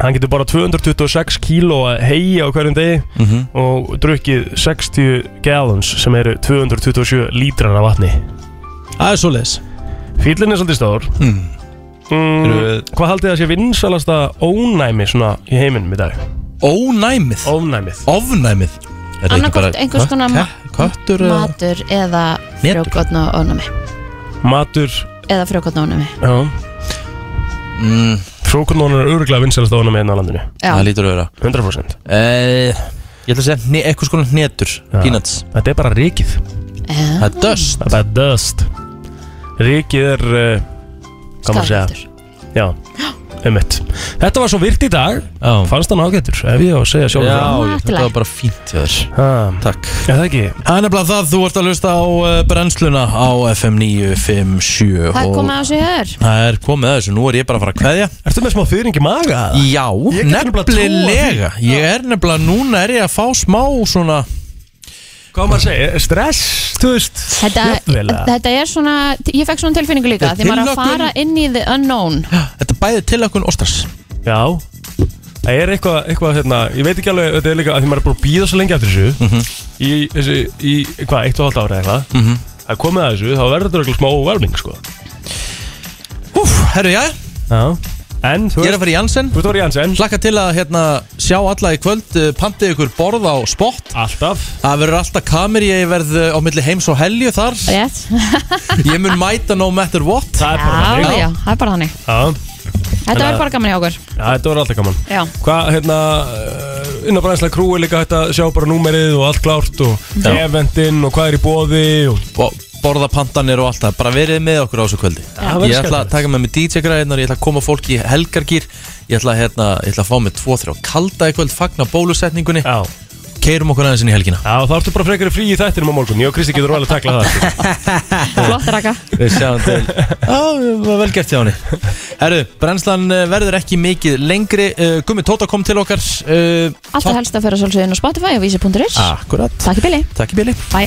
[SPEAKER 3] Hann getur bara 226 kíló að hegi á hverjum degi og drukkið 60 gallons sem eru 227 lítrar af vatni
[SPEAKER 2] Það er svoleiðis
[SPEAKER 3] Fýllinn er svolítið stór
[SPEAKER 2] Hmm.
[SPEAKER 3] mm.
[SPEAKER 2] Eru-
[SPEAKER 3] Hvað haldið það sé vinsalasta ónæmi svona í heiminum í dag?
[SPEAKER 2] Ónæmið
[SPEAKER 3] Ónæmið
[SPEAKER 2] Ofnæmið Er það ekki
[SPEAKER 4] Annaðhvort
[SPEAKER 2] bara
[SPEAKER 4] einhvers konar
[SPEAKER 2] kött-
[SPEAKER 4] ma-
[SPEAKER 2] Köttur eða-
[SPEAKER 4] matur eða
[SPEAKER 2] Hnetur.
[SPEAKER 4] frjókotn og ónami
[SPEAKER 3] Matur
[SPEAKER 4] eða frjókotn og ónami
[SPEAKER 3] Já
[SPEAKER 2] Mm,
[SPEAKER 3] Frókunónur er öruglega vinsalasta ónæmi hérna á landinu
[SPEAKER 2] Það
[SPEAKER 4] Já,
[SPEAKER 2] lítur að vera
[SPEAKER 3] 100%
[SPEAKER 2] Eh, Ég ætla að segja hne- eitthvað skona hnetur Peanuts
[SPEAKER 3] Þetta er bara rikið
[SPEAKER 4] Eh,
[SPEAKER 2] Það er dust
[SPEAKER 3] Það er bara dust Rikið er uh, Hvað maður segja
[SPEAKER 4] skaðvaldur.
[SPEAKER 3] Já Einmitt. Þetta var svo virt í dag
[SPEAKER 2] Já,
[SPEAKER 3] Fannst hann ágættur Ef ég á að segja sjálf
[SPEAKER 2] já
[SPEAKER 3] það
[SPEAKER 2] ég- þetta var bara fínt hjá þér
[SPEAKER 3] Ah,
[SPEAKER 2] Takk
[SPEAKER 3] Er það ekki?
[SPEAKER 2] Það er nefnilega það, þú ert að hlusta á eh, brennsluna á FM 957
[SPEAKER 4] Það er
[SPEAKER 2] og
[SPEAKER 4] komið á sig hér
[SPEAKER 2] Það er komið að þessu, nú er ég bara að fara að kveðja
[SPEAKER 3] Ertu með smá fyrring í maga?
[SPEAKER 2] Já,
[SPEAKER 3] Ég get nefnilega trúað því.
[SPEAKER 2] nefnilega Ég er nefnilega, núna er ég að fá smá svona
[SPEAKER 3] Hvað á maður að segja? Stress, þú veist
[SPEAKER 4] Þetta,
[SPEAKER 3] jafnvel, eða?
[SPEAKER 4] þetta er svona, ég fekk svona tilfinningu líka
[SPEAKER 2] Þetta er
[SPEAKER 4] því maður er að
[SPEAKER 2] tilhlökkun.
[SPEAKER 4] fara inn í the unknown
[SPEAKER 2] Þetta er bæði til okkur og stress
[SPEAKER 3] Já Það er eitthvað, eitthvað hérna, ég veit ekki alveg, þetta er líka að því maður er búin að býða svo lengi eftir þessu
[SPEAKER 2] Mhm.
[SPEAKER 3] í, þessu, í, hvað, eitt og halvt ára eitthvað mm -hmm. að komið að þessu, þá verður þetta eitthvað smá overwhelming, sko
[SPEAKER 2] Úf, herru, já,
[SPEAKER 3] Já En, þú
[SPEAKER 2] ég er
[SPEAKER 3] veist,
[SPEAKER 2] að fara í Janssen
[SPEAKER 3] þú veist, þú voru Jansen
[SPEAKER 2] Hlakka til að hérna, sjá alla í kvöld eh, Pantið ykkur borð á spott
[SPEAKER 3] Alltaf
[SPEAKER 2] Það verður alltaf kamer, ég verð eh, á milli heims og helju þar
[SPEAKER 4] Rétt,
[SPEAKER 2] <laughs> Ég mun mæta no matter what
[SPEAKER 3] Það er bara
[SPEAKER 4] já,
[SPEAKER 3] þannig
[SPEAKER 4] já, það er bara þannig
[SPEAKER 3] Já,
[SPEAKER 4] Þetta verður bara gaman hjá okkur
[SPEAKER 3] já, þetta voru alltaf gaman
[SPEAKER 4] Já,
[SPEAKER 3] Hvað, hérna, uh, inn á brænslega krúi líka hægt að sjá bara númerið og allt klárt og
[SPEAKER 2] Já.
[SPEAKER 3] eventinn og hvað er í bóði og
[SPEAKER 2] og borða pandanir og allt það bara verið með okkur á þessu kvöldi
[SPEAKER 3] það
[SPEAKER 2] ég
[SPEAKER 3] verður
[SPEAKER 2] ætla að taka með mig DJ-græðinar ég ætla að koma fólki í helgargýr ég ætla að, hérna, ég ætla að fá mig 2-3 kalda í kvöld fagna bólusetningunni
[SPEAKER 3] Já,
[SPEAKER 2] keirum okkur aðeins inn í helgina
[SPEAKER 3] já þá ertu bara frekari frí í þættinum á morgun, ég og Kristi getur alveg að takla það sko.
[SPEAKER 4] flott raka
[SPEAKER 2] við sjáum til <laughs> á, var vel gert hjá henni herru, brennslan eh, verður ekki mikið lengri Eh, Gummi Tóta kom til okkar eh,
[SPEAKER 4] Alltaf helst að fyrir svolsögðin á Spotify og vísi.is
[SPEAKER 3] Ah.
[SPEAKER 2] akkurat
[SPEAKER 4] Takk í bili
[SPEAKER 2] Tá, takk í bili
[SPEAKER 4] Bye